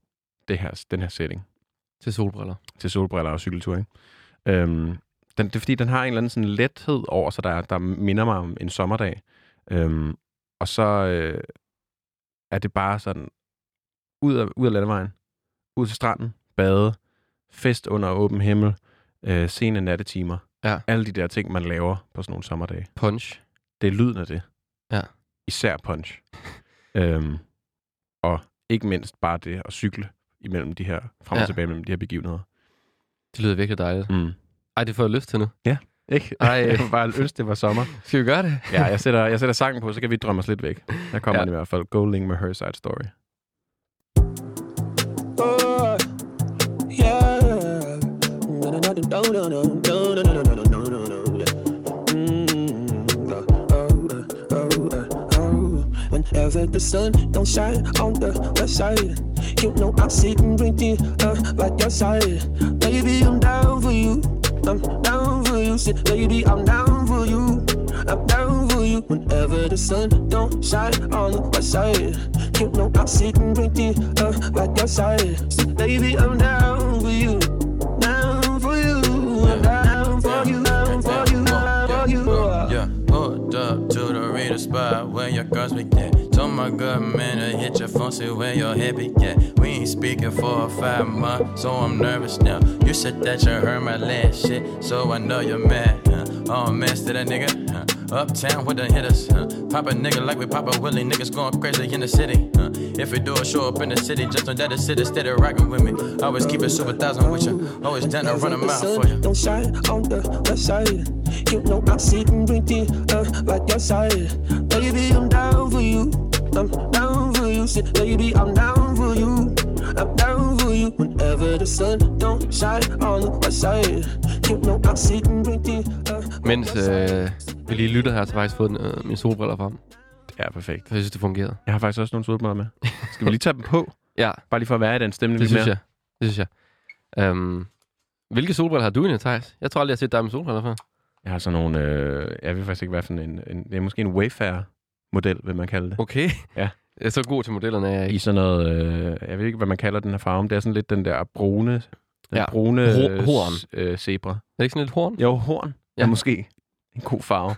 A: det her, den her setting,
B: Til solbriller.
A: til solbriller og cykeltur, ikke? Øhm, den, det er fordi, den har en eller anden sådan lethed over sig, der, der minder mig om en sommerdag. Øhm, og så øh, er det bare sådan, ud af, ud af landevejen, ud til stranden, bade, fest under åben himmel, øh, sene nattetimer.
B: Ja.
A: Alle de der ting, man laver på sådan nogle sommerdage.
B: Punch.
A: Det er lyden af det.
B: Ja.
A: Især punch. øhm, og ikke mindst bare det at cykle imellem de her, frem og
B: Ja.
A: tilbage mellem de her begivenheder.
B: Det lyder virkelig dejligt.
A: Mm.
B: Ej, det får jeg lyst til nu.
A: Ikke?
B: Ej.
A: Ej, jeg kunne bare ønske, det var sommer.
B: Skal vi gøre det?
A: Ja, jeg sætter, jeg sætter sangen på, så kan vi drømme os lidt væk. Der kommer
B: Ja.
A: ja. den i hvert fald. Golding med Her Side Story.
E: Oh, yeah. Whenever the sun don't shine on the west side, you know I'm sitting drinking uh, like your side. Baby, I'm down for you. I'm down for you. Say, baby, I'm down for you. I'm down for you. Whenever the sun don't shine on the west side, you know I'm sitting drinking uh, like your side. Say, baby, I'm down for you. Down for you. I'm down for you. Down for you. Down for you.
G: Yeah, hooked up to the reader spot where your girls begin. Told my good man to hit your phone, see where your head begin. We ain't speaking for five months, so I'm nervous now. You said that you heard my last shit, so I know you're mad. Huh? Oh, mess to that nigga. Huh? Uptown with the hitters. Huh? Pop a nigga like we pop a Willie. Niggas going crazy in the city. Huh? If we do a show up in the city, just know that the city steady rocking with me. Always keep it super thousand with you. Always down to run a mile for you.
E: Don't shine on the west side. You know I'm sitting drinking uh, like
H: your side. Baby, I'm down for you. I'm down for you. Say, baby, I'm down for you. I'm down for you. Whenever the sun don't shine on the west side, you know I'm sitting pretty. Uh,
B: Mens øh, vi lige lytter her, så har jeg faktisk fået den, øh, mine solbriller frem.
A: Det er perfekt.
B: For jeg synes, det fungerede.
A: Jeg har faktisk også nogle solbriller med. Skal vi lige tage dem på?
B: Ja,
A: Bare lige for at være i den stemning
B: det
A: lidt
B: synes
A: mere.
B: jeg. Det synes jeg. Øhm, hvilke solbriller har du egentlig, Thijs? Jeg tror aldrig, jeg har set dig med solbriller før.
A: Jeg har sådan nogle... Øh, jeg ved faktisk ikke, hvad for en... en det er måske en Wayfair-model, vil man kalde det.
B: Okay.
A: Ja.
B: Jeg er så god til modellerne, er jeg
A: I
B: ikke.
A: sådan noget... Øh, jeg ved ikke, hvad man kalder den her farve, men det er sådan lidt den der brune... Den
B: Ja.
A: brune
B: Ho- horn.
A: s- øh, zebra.
B: Er det ikke sådan lidt horn?
A: Jo, horn. Ja,
B: Ja.
A: måske. En god farve.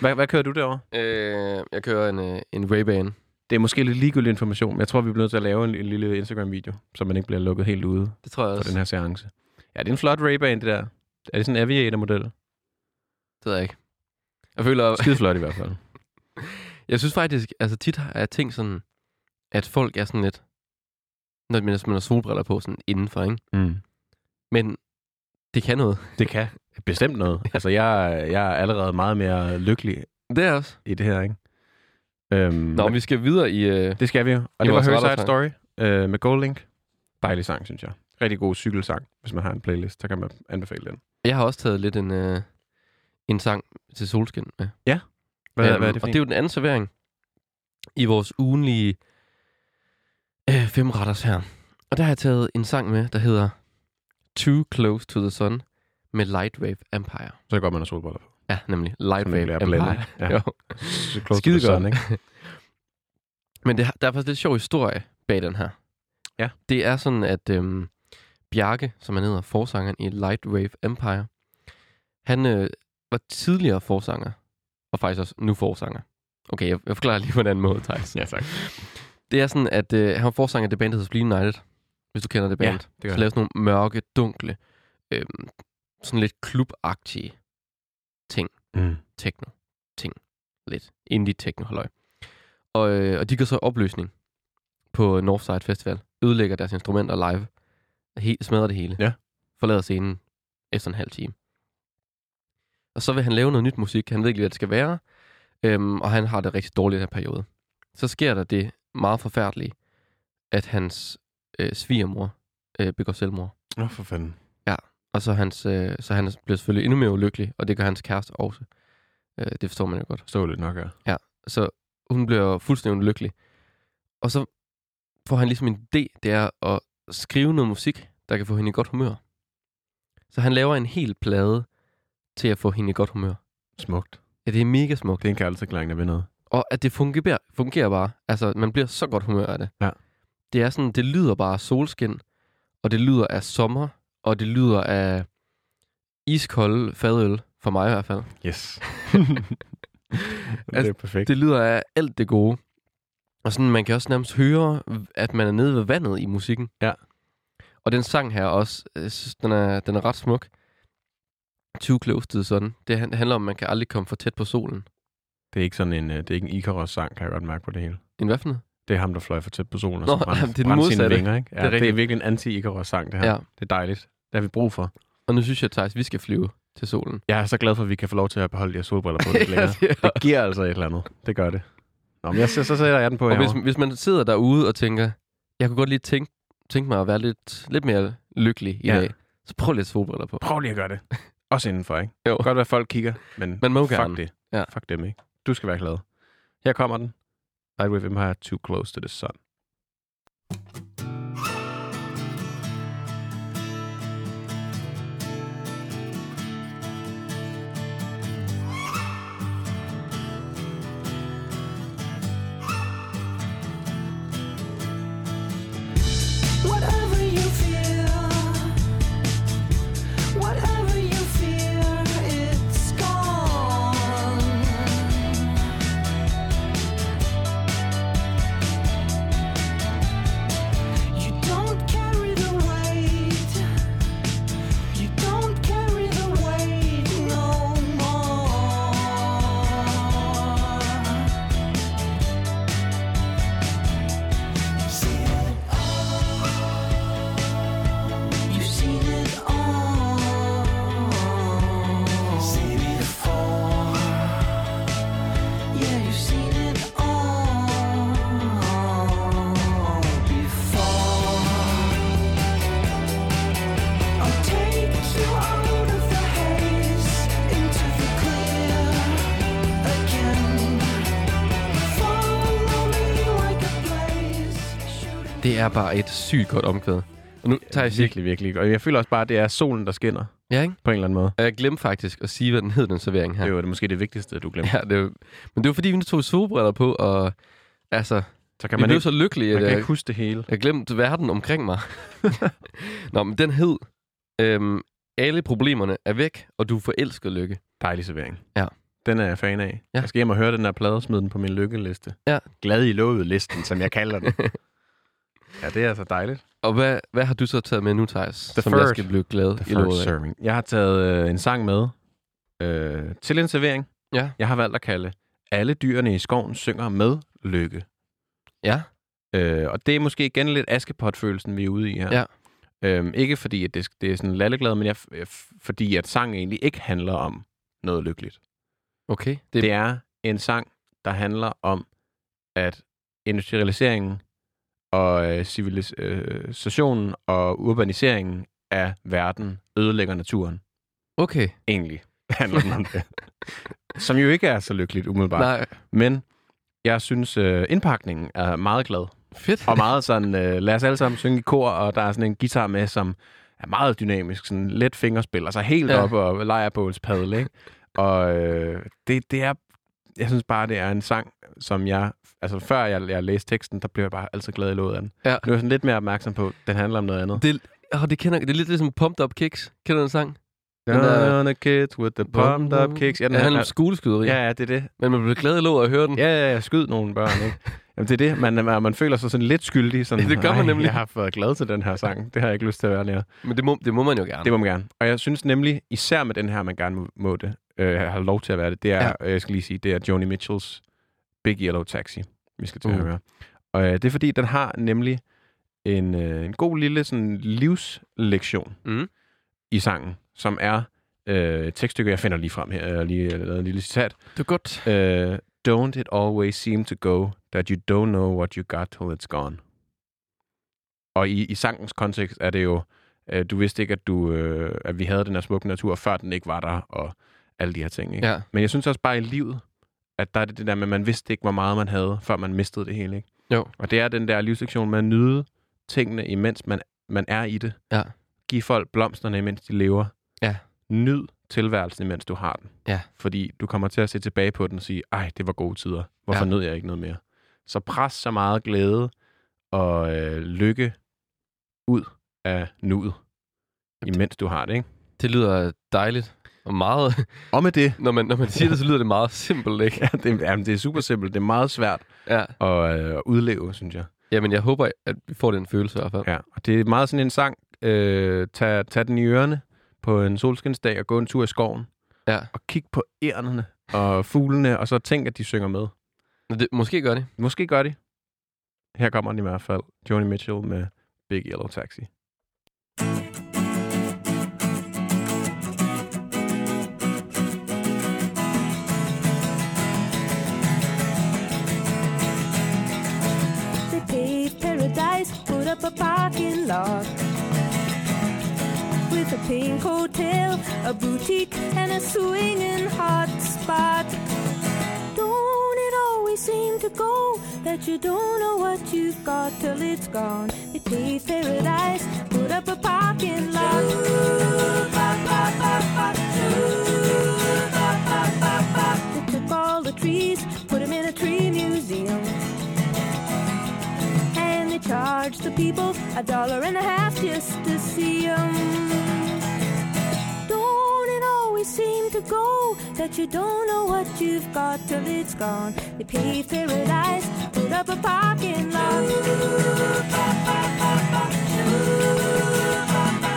A: Hvad, hvad kører du derovre?
B: Øh, jeg kører en, øh, en Ray-Ban.
A: Det er måske lidt ligegyldig information, men jeg tror, vi bliver nødt til at lave en, en lille Instagram-video, så man ikke bliver lukket helt ude
B: Det tror jeg
A: på
B: også.
A: den her seance. Ja, det er en flot ray det der. Er det sådan en aviator-model?
B: Det ved jeg ikke. Jeg føler,
A: Skide flot i hvert fald.
B: jeg synes faktisk, altså tit har jeg tænkt sådan, at folk er sådan lidt, når man man har solbriller på sådan indenfor, ikke?
A: Mm.
B: Men det kan noget.
A: Det kan bestemt noget. Altså, jeg, jeg er allerede meget mere lykkelig
B: Det er også.
A: i det her, ikke? Øhm,
B: Nå,
A: Nå,
B: men
A: vi...
B: vi skal videre i... Øh,
A: Det skal vi jo. Og
B: I
A: det var
B: vores
A: Her Side
B: retterfang.
A: Story øh, med Goldlink. Dejlig sang, synes jeg. Rigtig god cykelsang. Hvis man har en playlist, så kan man anbefale den.
B: jeg har også taget lidt en, øh, en sang til solskin med.
A: Hvad,
B: Øhm,
A: hvad er det for
B: Og
A: en?
B: det er jo den anden servering i vores ugenlige øh, fem retters her. Og der har jeg taget en sang med, der hedder Too Close to the Sun med Lightwave Empire.
A: Så går man og solbriller på.
B: Ja, nemlig
A: Så man ikke
B: Lightwave
A: lærer at blænde,
B: Empire.
A: ikke? Ja.
B: Jo.
A: Så close to
B: Skide
A: the sun,
B: godt.
A: ikke?
B: Men det, har- der er faktisk lidt sjov historie bag den her.
A: Ja.
B: Det er sådan, at øhm, Bjarke, som han hedder, forsangeren i Lightwave Empire, han øh, var tidligere forsanger, og faktisk også nu forsanger. Okay, jeg, jeg forklarer lige på en anden måde, Thijs.
A: Ja, tak.
B: Det er sådan, at øh, han var forsanger af det band, der hedder Spleen United. Hvis du kender det band.
A: Ja, det gør
B: så lavede sådan nogle mørke, dunkle, øh, sådan lidt klubagtige
A: Mm.
B: techno-ting. Lidt indie-techno-halløj. Og, øh, og de går så i opløsning på Northside Festival. Ødelægger deres instrumenter live. Helt, smadrer det hele.
A: Ja.
B: Forlader scenen efter en halv time. Og så vil han lave noget nyt musik. Han ved ikke, lige, hvad det skal være. Øhm, og han har det rigtig dårligt i den her periode. Så sker der det meget forfærdelige, at hans øh, svigermor øh, begår selvmord.
A: Nå, for fanden.
B: Og så, hans, øh, så han bliver selvfølgelig endnu mere ulykkelig, og det gør hans kæreste også. Øh, det forstår man jo godt.
A: Stå lidt nok her.
B: Så hun bliver fuldstændig lykkelig. Og så får han ligesom en idé, det er at skrive noget musik, der kan få hende i godt humør. Så han laver en hel plade til at få hende i godt humør.
A: Smukt.
B: Ja, det er mega smukt.
A: Det er en kærlighedserklæring, der vil noget.
B: Og at det fungerer, fungerer bare. Altså, man bliver så godt humør af det.
A: Ja.
B: Det er sådan, det lyder bare af solskin, og det lyder af sommer, og det lyder af iskold fadøl, for mig i hvert fald.
A: Yes. det
B: Altså,
A: er perfekt.
B: Det lyder af alt det gode. Og sådan, man kan også nærmest høre, at man er nede ved vandet i musikken.
A: Ja.
B: Og den sang her også, øh, jeg synes, den er, den er ret smuk. Too close to the sun. Det han- handler om, at man kan aldrig komme for tæt på solen.
A: Det er ikke sådan en, øh, det er ikke en Icarus-sang, kan jeg godt mærke på det hele.
B: En hvad for noget?
A: Det er ham, der fløj for tæt på solen, og
B: Nå,
A: så brændte,
B: jamen, det er den
A: brændte sine
B: modsatte.
A: vinger. Ikke? Ja,
B: Det er
A: det, er det er
B: rigtigt.
A: virkelig en anti icarus sang det her.
B: Ja.
A: Ja. Det er dejligt. Det har vi brug for.
B: Og nu synes jeg, at vi skal flyve til solen.
A: Jeg er så glad for, at vi kan få lov til at beholde de her solbriller på lidt længere.
B: det er-
A: Det giver altså et eller andet. Det gør det. Nå, men jeg, så, så sætter jeg den på
B: og hvis,
A: herovre.
B: hvis man sidder derude og tænker, jeg kunne godt lige tænke, tænke mig at være lidt, lidt mere lykkelig i
A: Ja.
B: dag, så prøv lidt solbriller på.
A: Prøv lige at gøre det. Også indenfor, ikke?
B: Jo.
A: Godt være, at folk kigger, men,
B: Man må
A: fuck
B: gerne.
A: det.
B: Ja.
A: Fuck dem, ikke? Du skal være glad. Her kommer den. Lightwave Empire, Too Close to the Sun.
F: Whatever you feel, whatever you fear, it's gone.
B: Det er bare et sygt godt omkvæd. Og nu tager jeg cirka...
A: Virkelig, virkelig. Og jeg føler også bare, at det er solen, der skinner
B: Ja, ikke?
A: på en eller anden måde.
B: Og jeg glemte faktisk at sige, hvad den hed, den servering her.
A: Det var det måske det vigtigste, du glemte.
B: Ja, det var... Men det var fordi, vi nu tog solbriller på, og altså,
A: Så
B: kan
A: kan
B: vi
A: man,
B: blev
A: ikke,
B: så lykkelige,
A: man
B: at
A: kan
B: jeg,
A: ikke huske det hele.
B: jeg glemte verden omkring mig. Nå, men den hed, øhm, alle problemerne er væk, og du er forelsket lykke.
A: Dejlig servering.
B: Ja.
A: Den er jeg fan af.
B: Ja.
A: Ja. Jeg skal hjem og høre den her plade og smide den på min lykkeliste.
B: Ja.
A: Glad i låget-listen, som jeg kalder den. ja, det er altså dejligt.
B: Og hvad, hvad har du så taget med nu, Thijs,
A: The
B: som jeg
A: Third.
B: skal blive glad
A: The
B: i løbet
A: first
B: af?
A: serving. Jeg har taget øh, en sang med øh, til en servering.
B: Ja.
A: Jeg har valgt at kalde Alle dyrene i skoven synger med lykke.
B: Ja.
A: Øh, og det er måske igen lidt askepot-følelsen, vi er ude i her.
B: Ja.
A: Øhm, ikke fordi, at det, det er sådan lalleglad, men jeg, jeg- fordi at sangen egentlig ikke handler om noget lykkeligt.
B: Okay, det,
A: Det,
B: det
A: det er en sang, der handler om, at industrialiseringen og øh, civilisationen øh, og urbaniseringen af verden ødelægger naturen.
B: okay.
A: Egentlig handler den om det. Som jo ikke er så lykkeligt umiddelbart. Nej.
B: Nej,
A: Men jeg synes, øh, indpakningen er meget glad.
B: fedt.
A: Og meget sådan, øh, lad os alle sammen synge i kor, og der er sådan en guitar med, som er meget dynamisk, sådan let fingerspil, altså helt
B: Ja.
A: ja. op og lejrbålspadel, ikke? Og øh, det, det er, jeg synes bare, det er en sang, som jeg, altså før jeg, jeg læste teksten, der blev jeg bare altid glad i låget af den.
B: Ja.
A: Nu er jeg sådan lidt mere opmærksom på, at den handler om noget andet.
B: Det, oh, det, kender, det er lidt ligesom Pumped Up Kicks. Kender du den sang?
A: Den
B: den
A: der,
B: der-
A: the kids with the pumped up kicks. Ja, den
B: det handler
A: handler
B: om skoleskyderi.
A: Ja, ja, det er det.
B: Men man bliver glad i låget at høre den.
A: Ja, ja, ja, skyd nogle børn, ikke? Jamen, det er det. Man, man, man føler sig sådan lidt skyldig. Sådan,
B: Det gør man
A: "Ej,
B: nemlig."
A: Jeg har været glad til den her sang. Det har jeg ikke lyst til at være lærer.
B: Men det må, det må man jo gerne.
A: Det må man gerne. Og jeg synes nemlig, især med den her, man gerne må, må det, øh, har lov til at være det, det er,
B: Ja.
A: ja. øh, jeg skal lige sige, det er Joni Mitchells Big Yellow Taxi, vi skal til
B: Uh.
A: at høre. Og øh, det er fordi, den har nemlig en, øh, en god lille sådan, livslektion
B: Mm.
A: i sangen, som er øh, et tekststykke, jeg finder lige frem her, jeg har lige øh, lavet en lille citat.
B: Det er godt.
A: Øh, don't it always seem to go that you don't know what you got till it's gone. Og i, i sangens kontekst er det jo, øh, du vidste ikke, at, du, øh, at vi havde den her smukke natur, før den ikke var der, og alle de her ting. Ikke?
B: Ja.
A: Men jeg synes også bare i livet, at der er det det der med, at man vidste ikke, hvor meget man havde, før man mistede det hele. Ikke?
B: Jo.
A: Og det er den der livssektion med at nyde tingene, imens man, man er i det.
B: Ja.
A: Giv folk blomsterne, imens de lever.
B: Ja.
A: Nyd tilværelsen, imens du har den.
B: Ja.
A: Fordi du kommer til at se tilbage på den og sige, ej, det var gode tider. Hvorfor
B: Ja.
A: nød jeg ikke noget mere? Så pres så meget glæde og øh, lykke ud af nuet, imens du har det. Ikke?
B: Det lyder dejligt. Og meget...
A: Og med det,
B: Når man, når man siger det, så lyder det meget simpelt, ikke?
A: ja, det, jamen, det er super simpelt. Det er meget svært
B: Ja.
A: at, øh, at udleve, synes jeg.
B: Jamen, jeg håber, at vi får den følelse i hvert fald.
A: Ja, og det er meget sådan en sang. Øh, tag, tag den i ørerne på en solskinsdag og gå en tur i skoven.
B: Ja.
A: Og kig på ærnerne og fuglene, og så tænk, at de synger med.
B: Nå, Det, måske gør det.
A: Måske gør de. Her kommer den i hvert fald. Joni Mitchell med Big Yellow Taxi.
F: They paved paradise, put up a parking lot. With a pink hotel, a boutique, and a swinging hot spot. Don't it always seem to go that you don't know what you've got till it's gone? They paved paradise, put up a parking lot. They took all the trees, put them in a tree museum. And they charge the people a dollar and a half just to see 'em. Don't it always seem to go that you don't know what you've got till it's gone? They paved paradise, put up a parking lot.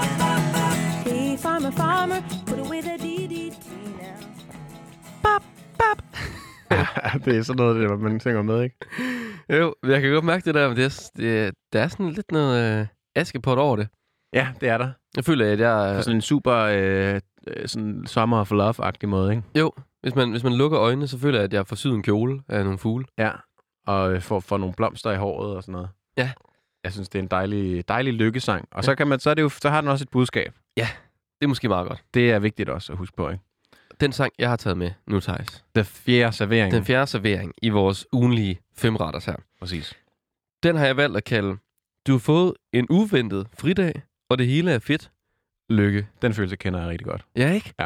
F: Hey, farmer, farmer, put away the DDT now.
A: det er sådan noget, det, man synger med, ikke?
B: Jo, jeg kan godt mærke det der, men det er, det, der er sådan lidt noget øh, askepot over det.
A: Ja, det er der.
B: Jeg føler, at
A: På
B: jeg... Øh,
A: sådan en super øh, øh, sådan summer of love-agtig måde, ikke?
B: jo, hvis man, hvis man lukker øjnene, så føler jeg, at jeg får syet en kjole af nogle fugle.
A: Ja. Og øh, får, får nogle blomster i håret og sådan noget.
B: Ja.
A: Jeg synes, det er en dejlig, dejlig lykkesang. Og så, kan man, så, er det jo, så har den også et budskab.
B: Det er måske meget godt.
A: Det er vigtigt også at huske på, ikke?
B: Den sang, jeg har taget med nu, Thijs.
A: Den fjerde servering.
B: Den fjerde servering i vores ugenlige femretters her.
A: Præcis.
B: Den har jeg valgt at kalde Du har fået en uventet fridag, og det hele er fedt. Lykke.
A: Den følelse kender jeg rigtig godt.
B: Ja, ikke?
A: Det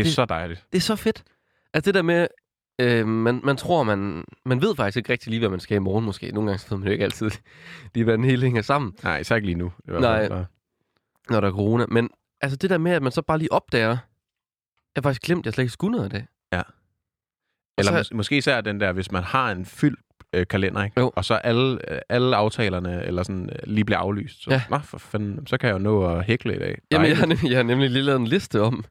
A: er
B: Det-
A: så dejligt.
B: Det er så fedt. Altså det der med, øh, man, man tror, man, man ved faktisk ikke rigtig lige, hvad man skal i morgen måske. Nogle gange så ved man jo ikke altid lige, hvordan hele hænger sammen,
A: Nej, især ikke lige nu. I hvert
B: Nej.
A: fald. Så-
B: når der er corona. Men altså det der med, at man så bare lige opdager, jeg har faktisk glemt, at jeg slet ikke skulle noget af det.
A: Eller
B: så-
A: mås- måske især den der, hvis man har en fyldt øh, kalender, ikke?
B: Jo.
A: og så alle, øh, alle aftalerne eller sådan, øh, lige bliver aflyst. Så,
B: Ja.
A: ja. Nå, for fanden, så kan jeg jo nå at hækle i dag.
B: Jamen, jeg
A: Dejligt.
B: har, nemlig, jeg har nemlig lige lavet en liste om,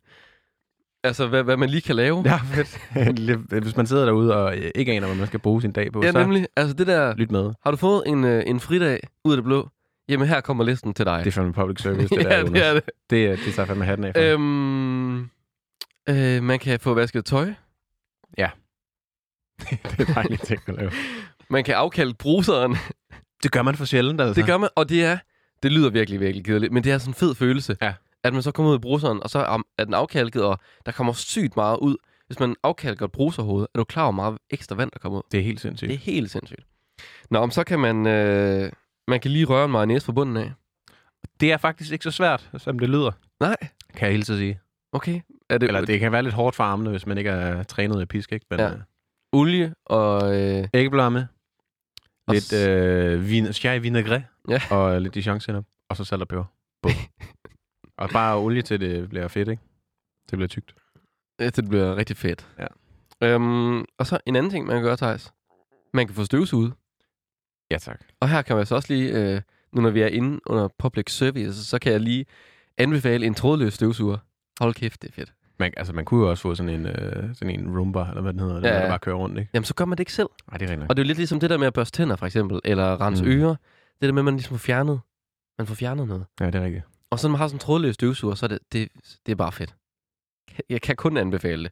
B: altså hvad, hvad man lige kan lave.
A: Ja, fedt. Hvis man sidder derude og øh, ikke aner, hvad man skal bruge sin dag på,
B: ja
A: så
B: nemlig. Altså det der,
A: lyt med.
B: har du fået en, øh, en fridag ud af det blå? Jamen her kommer listen til dig.
A: Det er fandme public service, det
B: ja,
A: der.
B: det
A: Jonas.
B: er det.
A: det, øh, det tager fandme hatten af for.
B: Øhm, øh, man kan få vasket tøj.
A: det er dejligt ting at lave.
B: Man kan afkalde bruseren.
A: Det gør man for sjældent, altså.
B: Det gør man, og det er, det lyder virkelig, virkelig kedeligt, men det er sådan en fed følelse,
A: Ja.
B: at man så kommer ud i bruseren, og så er- er den afkalket, og der kommer sygt meget ud. Hvis man afkalker et bruserhoved, er du klar over hvor meget ekstra vand, der kommer ud.
A: Det er helt sindssygt.
B: Det er helt sindssygt. Nå, men så kan man, øh, man kan lige røre en mayonnaise fra bunden af.
A: Det er faktisk ikke så svært, som det lyder.
B: Nej.
A: Kan jeg hele tiden sige.
B: Okay. Er det,
A: Eller det kan være lidt hårdt for armene, hvis man ikke er trænet i pisk, ikke? Men,
B: Ja.
A: ja.
B: olie og... Øh,
A: æggeblomme,
B: Og
A: lidt
B: s-
A: øh, vin, chai vinaigrette
B: Ja.
A: og lidt dijon senap og så salt og peber. Bum. og bare olie til det bliver fedt, ikke? Det bliver tykt.
B: Ja, det bliver rigtig fedt.
A: Ja.
B: Øhm, og så en anden ting, man kan gøre, Thijs. Man kan få støvsuget.
A: Ja, tak.
B: Og her kan man så også lige, øh, nu når vi er inde under public service, så kan jeg lige anbefale en trådløs støvsuger. Hold kæft, det er fedt.
A: Man, altså, man kunne jo også få sådan en, øh, sådan en rumba, eller hvad den hedder, ja,
B: Ja,
A: der,
B: ja.
A: der bare kører rundt, ikke?
B: Jamen, så gør man det ikke selv.
A: Nej, det er rigtigt.
B: Og det er jo lidt ligesom det der med at børste tænder, for eksempel, eller rense mm.
A: Mm.
B: ører. Det der med, at man ligesom får fjernet, man får fjernet noget.
A: Ja, det er rigtigt.
B: Og så når man har sådan en trådløs støvsuger, så er det, det, det er bare fedt. Jeg kan kun anbefale det.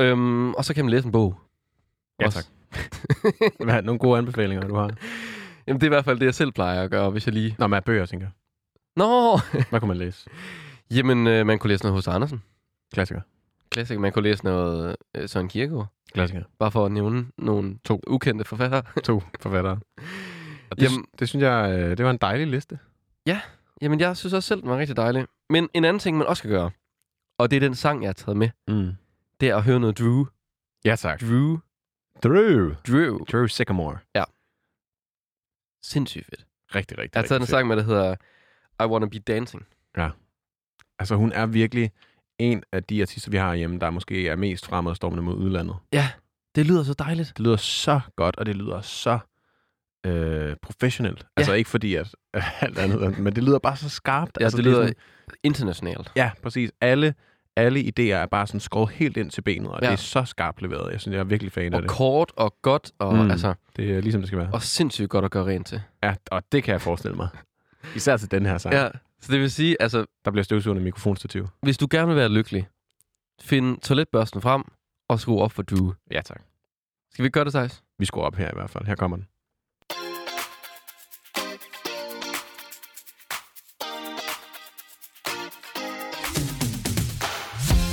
B: Øhm, og så kan man læse en bog.
A: Ja,
B: Også.
A: tak. Hvad, nogle gode anbefalinger, du har?
B: Jamen, det er i hvert fald det, jeg selv plejer at gøre, hvis jeg lige...
A: Nå, med bøger, tænker jeg.
B: Nå!
A: Hvad kunne man læse?
B: Jamen, øh, man kunne læse noget hos Andersen.
A: Klassiker.
B: Klassiker. Man kunne læse noget øh, Søren Kierkegaard.
A: Klassiker.
B: Bare for at nævne nogle
A: To.
B: ukendte forfattere.
A: To forfattere. Og det,
B: Jamen-
A: Jamen, det synes jeg, øh, det var en dejlig liste.
B: Jamen, jeg synes også selv, den var rigtig dejlig. Men en anden ting, man også kan gøre, og det er den sang, jeg har taget med,
A: Mm.
B: det er at høre noget Drew.
A: Ja, tak.
B: Drew.
A: Drew.
B: Drew.
A: Drew Sycamore.
B: Sindssygt fedt.
A: Rigtig, rigtig,
B: Jeg har taget en
A: rigtig
B: sang med, der hedder I Wanna Be Dancing.
A: Altså hun er virkelig en af de artister, vi har hjemme, der måske er mest fremadstormende mod udlandet.
B: Det lyder så dejligt.
A: Det lyder så godt, og det lyder så øh, professionelt. Altså ikke fordi, at alt andet, er- men det lyder bare så skarpt.
B: Ja,
A: altså,
B: altså, det
A: er
B: lyder
A: Sådan,
B: internationalt.
A: ja, præcis. Alle, alle idéer er bare sådan skåret helt ind til benet, og
B: Ja.
A: ja. det er så skarpt leveret. Jeg synes, jeg er virkelig fan af
B: Og
A: det.
B: kort og godt, og, mm.
A: Mm.
B: altså,
A: Det er ligesom det skal være.
B: og sindssygt godt at gøre rent til.
A: Ja, og det kan jeg forestille mig. Især til den her sang.
B: Ja. Så det vil sige, altså,
A: Der bliver støvsugende mikrofonstativ.
B: hvis du gerne vil være lykkelig, find toiletbørsten frem og skru op for Drew.
A: Ja, tak.
B: Skal vi ikke gøre det, Thijs?
A: Vi skruer op her i hvert fald. Her kommer den.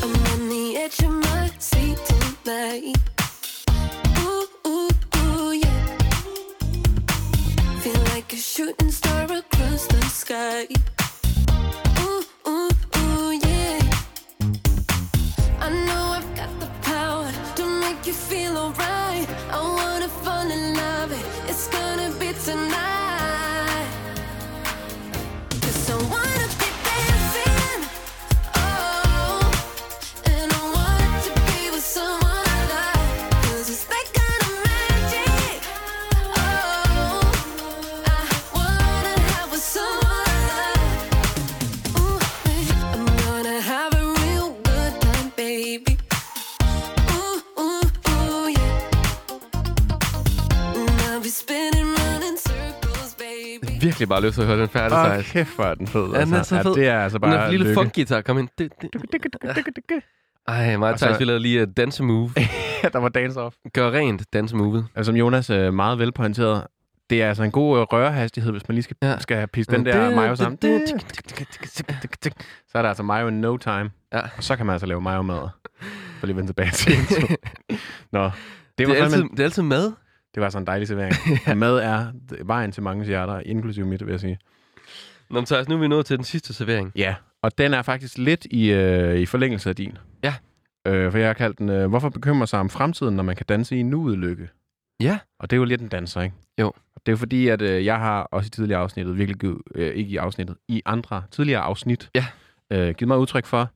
F: I'm on the edge of my seat tonight. Ooh, ooh, ooh, yeah. Feel like a shooting star across the sky. Ooh, ooh, ooh, yeah. I know I've got the power to make you feel alright. I wanna fall in love. It's gonna be tonight. Cause I wanna be dancing. Oh. And I want to be with someone I like. 'Cause it's that kind of magic. Oh, I wanna have with someone I like. Ooh, I'm gonna have a real good time, baby. Ooh, ooh, ooh, yeah. And I'll be spinning round in circles, baby.
B: Virkelig bare lyst til at høre den færdig,
A: Åh,
B: Thijs.
A: kæft, hvor er den fed.
B: Ja, den er så fed.
A: Ja, det er altså
B: Den
A: bare
B: der lille
A: lykke.
B: funkgitar, kom ind. Det- det- Ej, mig og
A: Og så-
B: Thijs, vi lavede lige et dansemove.
A: Ja, der var dance off.
B: Gør rent dansemovet.
A: Altså, som Jonas øh, meget velpointeret, det er altså en god øh, rørehastighed, hvis man lige skal,
B: Ja.
A: ja. skal pisse den
B: Ja,
A: der
B: det-
A: mayo
B: det-
A: sammen.
B: det-
A: Så er der altså mayo in no time.
B: Ja.
A: Og så kan man altså lave mayo mad. For lige at vende tilbage til intro. Nå, det,
B: Det
A: var
B: er,
A: fandme,
B: altid,
A: en-
B: det er altid mad.
A: Det var sådan en dejlig servering. ja. Mad er vejen til mange hjerter, inklusive mit, vil jeg sige.
B: Nå, men Thijs, nu er vi nået til den sidste servering.
A: Ja, og den er faktisk lidt i, øh, i forlængelse af din.
B: Ja.
A: Øh, for jeg har kaldt den, øh, hvorfor bekymre sig om fremtiden, når man kan danse i nuet lykke?
B: Ja.
A: Og det er jo lidt en danser, ikke?
B: Jo.
A: Og det er jo fordi, at øh, jeg har også i tidligere afsnittet, virkelig givet, øh, ikke i afsnittet, i andre tidligere afsnit,
B: Ja.
A: øh, givet mig udtryk for,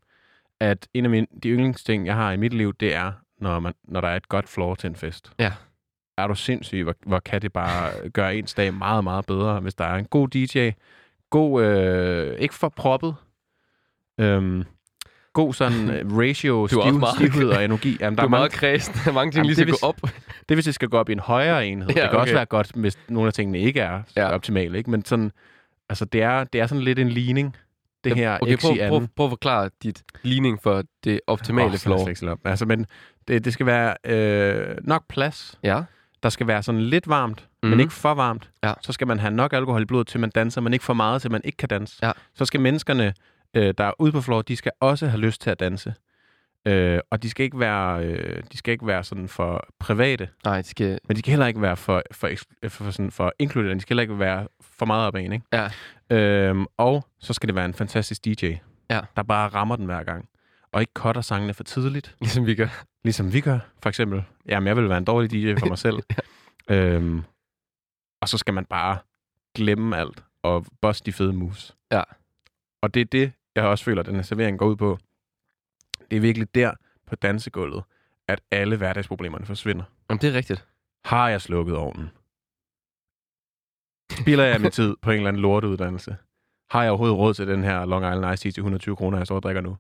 A: at en af mine, de yndlingsting, jeg har i mit liv, det er, når, man, når der er et godt floor til en fest.
B: Ja.
A: Er du sindssyg, hvor, hvor kan det bare gøre ens dag meget, meget bedre, hvis der er en god DJ, god, øh, ikke for proppet, øhm, god sådan øh, ratio,
B: Du er også
A: stiv,
B: meget-
A: stivhed og energi. Jamen, der
B: Der du
A: er mange
B: er meget kredsen. Der er mange ting
A: Jamen,
B: lige skal
A: det
B: gå op.
A: det er, hvis det skal gå op i en højere enhed.
B: Ja,
A: Ja, det kan okay.
B: okay.
A: også være godt, hvis nogle af tingene ikke er
B: Ja.
A: ja. optimale. Ikke? Men sådan, altså, det, er, det er sådan lidt en ligning, det her
B: okay,
A: X
B: prøv,
A: i anden.
B: prøv, prøv at forklare dit ligning for det optimale
A: Åh,
B: oh,
A: så er det
B: floor.
A: slet ikke så op. Altså, men det, det skal være øh, nok plads.
B: Ja.
A: Der skal være sådan lidt varmt, mm.
B: Mhm.
A: men ikke for varmt.
B: Ja.
A: Så skal man have nok alkohol i blodet, til man danser, men ikke for meget, til man ikke kan danse.
B: Ja.
A: Så skal menneskerne, øh, der er ude på floor, de skal også have lyst til at danse. Øh, og de skal ikke være, øh, de skal ikke være sådan for private.
B: Nej, det skal...
A: Men de kan heller ikke være for, for, eks- øh, for, sådan for inkluderende. De skal heller ikke være for meget op ad en, ikke?
B: Ja.
A: Øhm, og så skal det være en fantastisk DJ,
B: Ja.
A: der bare rammer den hver gang. Og ikke cutter sangene for tidligt,
B: Ligesom vi gør.
A: ligesom vi gør, for eksempel. Jamen, jeg vil være en dårlig DJ for mig selv. øhm, og så skal man bare glemme alt og bosse de fede moves.
B: Ja.
A: Og det er det, jeg også føler, at den her servering går ud på. Det er virkelig der på dansegulvet, at alle hverdagsproblemerne forsvinder.
B: Jamen, det er rigtigt.
A: Har jeg slukket ovnen? Spiller jeg min tid på en eller anden lorteuddannelse? Har jeg overhovedet råd til den her Long Island Ice Tea til 120 kroner, jeg står og drikker nu?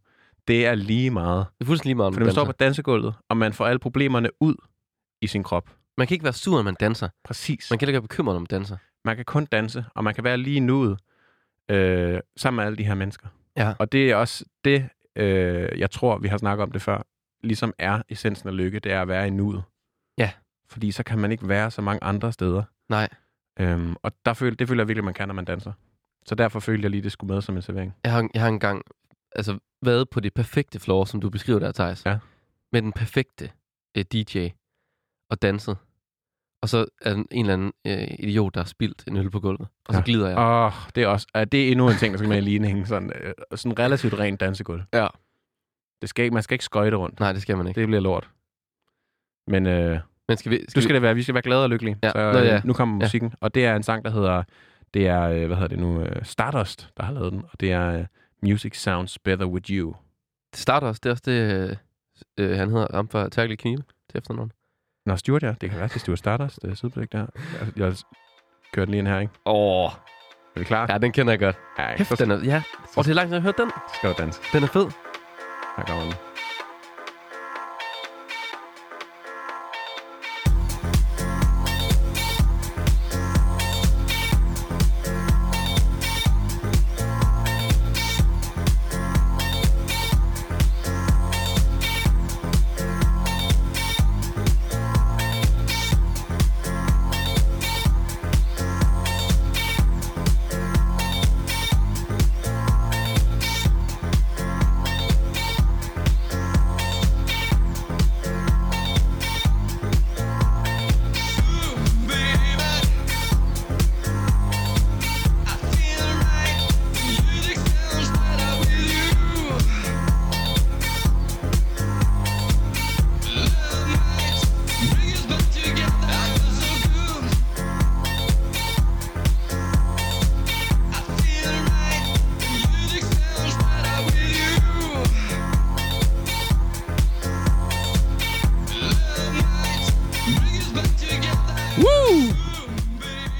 A: Det er lige meget.
B: Det er fuldstændig lige meget, om
A: For
B: du
A: man står
B: danser.
A: på dansegulvet, og man får alle problemerne ud i sin krop.
B: Man kan ikke være sur, når man danser.
A: Præcis.
B: Man kan heller ikke være bekymret, når man danser.
A: Man kan kun danse, og man kan være lige nuet øh, sammen med alle de her mennesker.
B: Ja.
A: Og det er også det, øh, jeg tror, vi har snakket om det før, ligesom er essensen af lykke, det er at være i nuet.
B: Ja.
A: Fordi så kan man ikke være så mange andre steder.
B: Nej.
A: Øhm, og der føler, det føler jeg virkelig, man kan, når man danser. Så derfor følte jeg lige, det skulle med som en servering.
B: Jeg har, jeg har engang altså, været på det perfekte floor, som du beskriver der, Thijs.
A: Ja.
B: Med den perfekte øh, DJ og danset. Og så er den en eller anden øh, idiot, der har spildt en øl på gulvet. Og så
A: Ja.
B: glider jeg.
A: Åh, ja. oh, det er også er det er endnu en ting, der skal med i ligningen. Sådan, øh, sådan relativt rent dansegulv.
B: Ja.
A: Det skal ikke, man skal ikke skøjte rundt.
B: Nej, det skal man ikke.
A: Det bliver lort. Men øh,
B: Men skal vi...
A: du
B: vi-
A: skal det være, vi skal være glade og lykkelige.
B: Ja.
A: Så
B: Nå,
A: øh,
B: ja.
A: nu kommer
B: Ja.
A: musikken. Og det er en sang, der hedder, det er, øh, hvad hedder det nu, øh, Stardust, der har lavet den. Og det er øh, Music Sounds Better With You.
B: Det starter også, det er også det, øh, øh, han hedder ham fra Tærkelig Knive til efternavn.
A: Nå, Stuart, ja. Det kan være, det er Stuart Stardust. Det er sideblik der. Jeg, jeg kører den lige ind her, ikke?
B: Åh, oh,
A: Er vi klar?
B: ja, den kender jeg godt.
A: Ja,
B: Kæft,
A: så
B: den er, ja. Og det er langt, siden jeg har hørt den.
A: skal du danse.
B: Den er fed.
A: Her kommer den.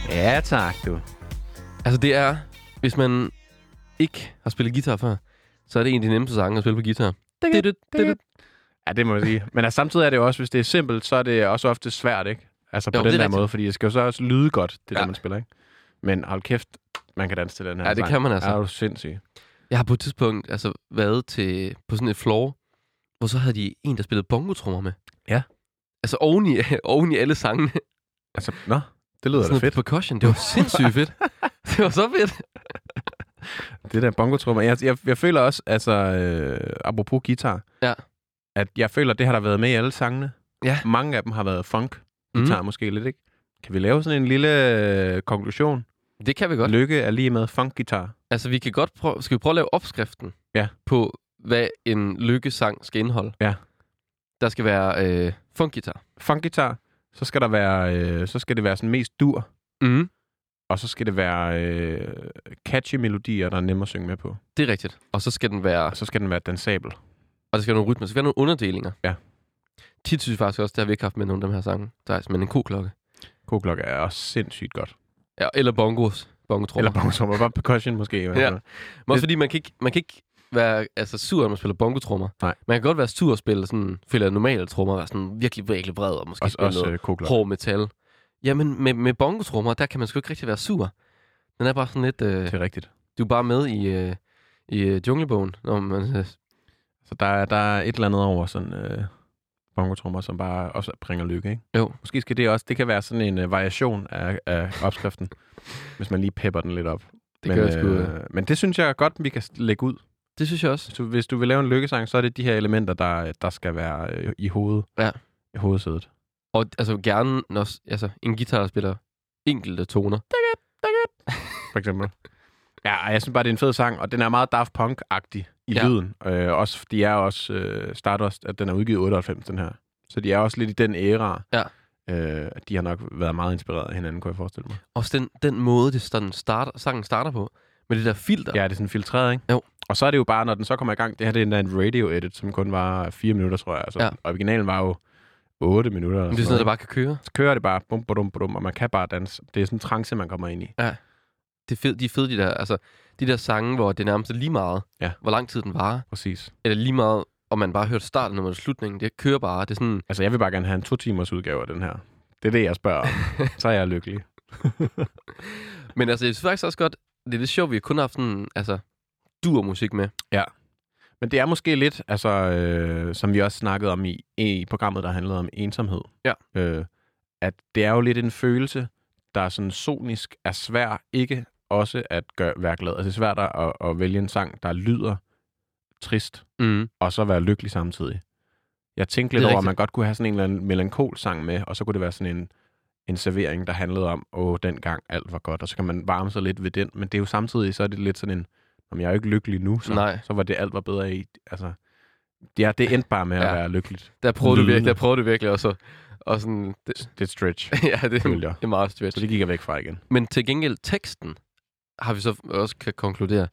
A: Ja, tak, du.
B: Altså, det er, hvis man ikke har spillet guitar før, så er det en af de nemmeste sange at spille på guitar. Det, det, det,
A: Ja, det må jeg sige. Men altså, samtidig er det jo også, hvis det er simpelt, så er det også ofte svært, ikke? Altså på
B: Jo,
A: jo, den
B: det er
A: der
B: rigtigt.
A: måde, fordi det skal jo så også lyde godt, det ja.
B: Ja.
A: der, man spiller, ikke? Men hold kæft, man kan danse til den her
B: Ja, det
A: sang.
B: kan man altså.
A: Er du sindssyg?
B: Jeg har på et tidspunkt altså, været til, på sådan et floor, hvor så havde de en, der spillede bongotrummer med.
A: Ja.
B: Altså oven i, oven i alle sangene.
A: Altså, nå, det lyder da
B: noget
A: fedt.
B: percussion. Det var sindssygt fedt. Det var så fedt.
A: Det der bongotrummer. Jeg, jeg, jeg føler også, altså, øh, apropos guitar,
B: Ja.
A: at jeg føler, det har der været med i alle sangene.
B: Ja. Mhm.
A: Mange af dem har været funk. Guitar mm. måske lidt, ikke? Kan vi lave sådan en lille øh, konklusion?
B: Det kan vi godt.
A: Lykke er lige med funkgitar.
B: Altså, vi kan godt prøve... Skal vi prøve at lave opskriften?
A: Ja.
B: På, hvad en lykkesang skal indeholde?
A: Ja.
B: Der skal være øh, funkgitar.
A: Funkgitar, så skal der være, øh, så skal det være sådan mest dur, Mm-hmm.
B: Mm.
A: og så skal det være øh, catchy melodier, der er nemme at synge med på.
B: Det er rigtigt. Og så skal den være...
A: Og så skal den være dansabel.
B: Og der skal være nogle rytmer. Der skal være nogle underdelinger.
A: Ja.
B: Tit synes jeg faktisk også, det har vi ikke haft med nogle af dem her sange. Der er simpelthen en koklokke.
A: Koklokke er også sindssygt godt.
B: Ja, eller bongos. Bongotrummer.
A: Eller bongotrummer, bare percussion måske. i hvert fald.
B: Men også fordi man kan ikke, man kan ikke være altså, sur, når man spiller bongotrummer.
A: Nej.
B: Man kan godt være sur og spille sådan, spiller normale trommer, være sådan virkelig, virkelig bred og måske
A: Også,
B: spille
A: også
B: noget
A: øh, koklokke.
B: hård metal. Jamen, med, med bongotrummer, der kan man sgu ikke rigtig være sur. Den er bare sådan lidt, øh,
A: Det er rigtigt.
B: du er bare med i, øh, i øh, junglebogen, når man, øh,
A: Så der, er- der er et eller andet over sådan øh, bongotrummer, som bare også bringer lykke, ikke?
B: Jo.
A: Måske skal det også, det kan være sådan en øh, variation af, af opskriften, hvis man lige pepper den lidt op.
B: det, men, gør jeg sgu, øh,
A: øh, men det synes jeg godt, vi kan s- lægge ud.
B: det synes jeg også.
A: Hvis du, hvis du vil lave en lykkesang, så er det de her elementer, der, der skal være øh, i hovedet.
B: Ja.
A: I hovedsædet.
B: Og altså gerne, når, s- altså, en guitar der spiller enkelte toner.
A: for eksempel. Ja, og jeg synes bare, det er en fed sang, og den er meget Daft Punk-agtig i
B: Ja.
A: ja. lyden. Øh, også, de er også øh, Stardust, at den er udgivet i 98, den her. Så de er også lidt i den æra.
B: Ja.
A: Øh, de har nok været meget inspireret af hinanden, kunne jeg forestille mig.
B: Også den, den måde, det sådan starter, sangen starter på, med det der filter.
A: Ja, det er sådan filtreret, ikke?
B: Jo.
A: Og så er det jo bare, når den så kommer i gang, det her det er endda en radio-edit, som kun var fire minutter, tror jeg. Altså,
B: Ja.
A: Originalen var jo 8 minutter. eller
B: Men det er sådan noget,
A: noget,
B: der bare kan køre.
A: Så kører det bare, bum, bum, bum, og man kan bare danse. Det er sådan en trance, man kommer ind i.
B: det er fed, de er fede, de der, altså, de der sange, hvor det nærmest er lige meget,
A: Ja.
B: hvor lang tid den varer,
A: Præcis.
B: eller lige meget, om man bare hørte starten eller slutningen, det kører bare, det er sådan,
A: Altså, jeg vil bare gerne have en to-timers udgave af den her. Det er det, jeg spørger om. så er jeg lykkelig.
B: men altså, jeg synes faktisk også godt, det er lidt sjovt, vi kun har haft sådan, altså, dur musik med.
A: Men det er måske lidt, altså, øh, som vi også snakkede om i, i programmet, der handlede om ensomhed.
B: Ja.
A: Øh, at det er jo lidt en følelse, der er sådan sonisk er svær ikke også at gøre, være glad. Altså, det er svært at, at- at vælge en sang, der lyder trist,
B: Mm.
A: og så være lykkelig samtidig. Jeg tænkte
B: Det
A: lidt
B: er
A: over, at
B: rigtigt.
A: man godt kunne have sådan en eller anden melankol sang med, og så kunne det være sådan en, en servering, der handlede om, åh, dengang alt var godt, og så kan man varme sig lidt ved den, men det er jo samtidig, så er det lidt sådan en, om jeg er jo ikke lykkelig nu, så,
B: Nej.
A: så var det alt var bedre i, altså, ja, det endte bare med at
B: Ja.
A: være lykkeligt.
B: Der prøvede du
A: Lydende.
B: virkelig, der prøvede du virkelig også, at- og sådan, det,
A: Det er et stretch.
B: ja, det,
A: Følte jeg.
B: det er meget
A: Så
B: stretch.
A: det gik jeg væk fra igen.
B: Men til gengæld, teksten, har vi så også kan konkludere,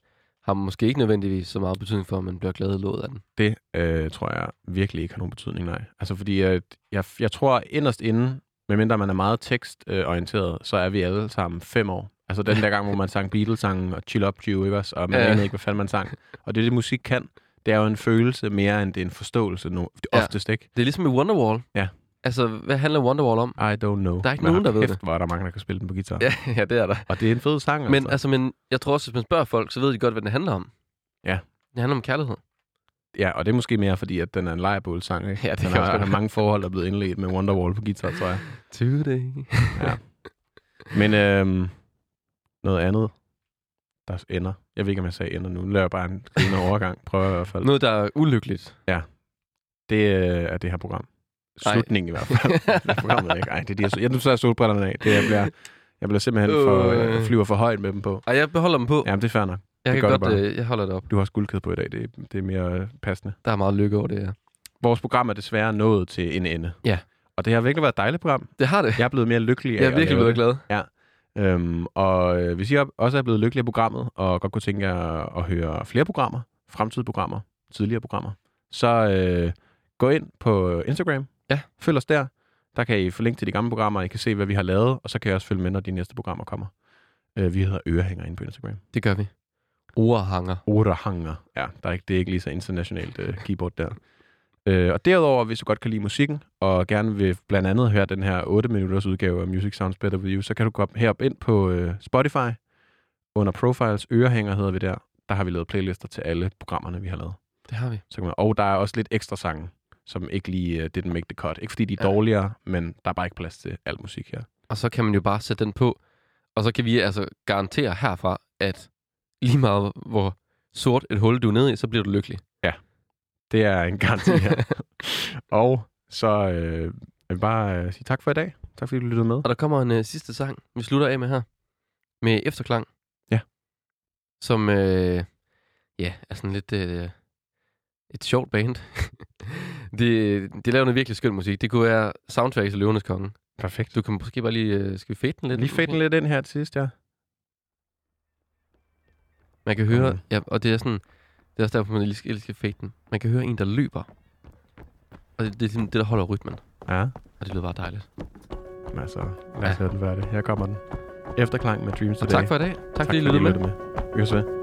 B: har måske ikke nødvendigvis så meget betydning for, om man bliver glad eller låget af den.
A: Det øh, tror jeg virkelig ikke har nogen betydning, nej. Altså fordi øh, jeg, jeg tror inderst inde, medmindre man er meget tekstorienteret, så er vi alle sammen fem år. Altså den der gang, hvor man sang Beatles-sangen og Chill Up Jew, ikke også? Og man
B: Ja.
A: ja. anede ikke, hvad fanden man sang. Og det, det musik kan, det er jo en følelse mere, end det er en forståelse nu,
B: Ja.
A: oftest, ikke?
B: Det er ligesom med Wonderwall.
A: Ja.
B: Altså, hvad handler Wonderwall om?
A: I don't know.
B: Der er ikke
A: Men
B: nogen, der
A: hold
B: ved
A: kæft, Hvor er der mange, der kan spille den på guitar.
B: Ja, ja, det er der.
A: Og det er en fed sang,
B: Men altså, men jeg tror også, hvis man spørger folk, så ved de godt, hvad den handler om.
A: Ja.
B: Det handler om kærlighed.
A: Ja, og det er måske mere, fordi at den er en lejrebålsang, ikke?
B: Ja, det
A: den
B: kan også
A: har,
B: godt
A: har mange forhold, der er blevet indledt med Wonderwall på guitar, tror jeg.
B: Today.
A: Men øhm, noget andet, der ender. Jeg ved ikke, om jeg sagde ender nu. Nu laver jeg bare en griner overgang. Prøver jeg i hvert fald.
B: Noget, der er ulykkeligt.
A: Det øh, er det her program.
B: Ej.
A: Slutningen i hvert fald. det er programmet ikke. Ej, det er de her... Jeg, nu tager jeg solbrillerne af. Det, jeg, bliver, jeg bliver simpelthen for,
B: Øh.
A: jeg flyver for højt med dem på.
B: Ej, jeg beholder dem på. Ja,
A: Jamen, det er fair nok.
B: jeg
A: det
B: kan
A: gør
B: godt,
A: du bare.
B: øh, jeg holder det op.
A: Du har også guldkæde på i dag. Det, er- det er mere øh, passende.
B: Der er meget lykke over det her.
A: Vores program er desværre nået til en ende.
B: Ja.
A: Og det har virkelig været et dejligt program.
B: Det har det.
A: Jeg er blevet mere lykkelig af
B: Jeg
A: at
B: er virkelig
A: lave
B: blevet
A: det.
B: glad.
A: Øhm, og øh, hvis I op- også er blevet lykkelige af programmet, og godt kunne tænke jer at høre flere programmer, fremtidige programmer, tidligere programmer, så øh, gå ind på Instagram.
B: Ja.
A: Følg os der. Der kan I få link til de gamle programmer, I kan se, hvad vi har lavet, og så kan I også følge med, når de næste programmer kommer. Øh, vi hedder Ørehænger inde på Instagram.
B: Det gør vi. Orhanger.
A: Orehanger. Ja, der er ikke, det er ikke lige så internationalt øh, keyboard der. Øh, og derudover, hvis du godt kan lide musikken, og gerne vil blandt andet høre den her 8-minutters udgave af Music Sounds Better With You, så kan du gå op, herop ind på øh, Spotify. Under Profiles Ørehænger hedder vi der. Der har vi lavet playlister til alle programmerne, vi har lavet.
B: Det har vi.
A: Så kan man, og der er også lidt ekstra sange, som ikke lige øh, didn't make the cut. Ikke fordi de er
B: Ja.
A: dårligere, men der er bare ikke plads til al musik her.
B: Og så kan man jo bare sætte den på. Og så kan vi altså garantere herfra, at lige meget hvor sort et hul du er nede i, så bliver du lykkelig.
A: Det er en garanti her. og så øh, jeg vil bare øh, sige tak for i dag. Tak fordi du lyttede med.
B: Og der kommer en øh, sidste sang, vi slutter af med her. Med efterklang.
A: Ja.
B: Som, øh, ja, er sådan lidt øh, et sjovt band. de, de laver noget virkelig skøn musik. Det kunne være soundtrack til Løvenes Konge.
A: Perfekt.
B: Du kan måske bare lige, øh, skal vi fade den lidt?
A: Lige fedt den lidt ind her til sidst, ja.
B: Man kan høre,
A: Mm.
B: ja, og det er sådan, det er også derfor, man lige skal, lige skal fade den. Man kan høre en, der løber. Og det, det er sådan det, der holder rytmen.
A: Ja.
B: Og det lyder bare dejligt.
A: Men altså, lad os
B: Ja.
A: høre den være det. Her kommer den. Efterklang med Dreams
B: Og
A: Today.
B: tak for i dag. Tak, tak fordi I lyttede med.
A: lyttede med. Vi høres ved.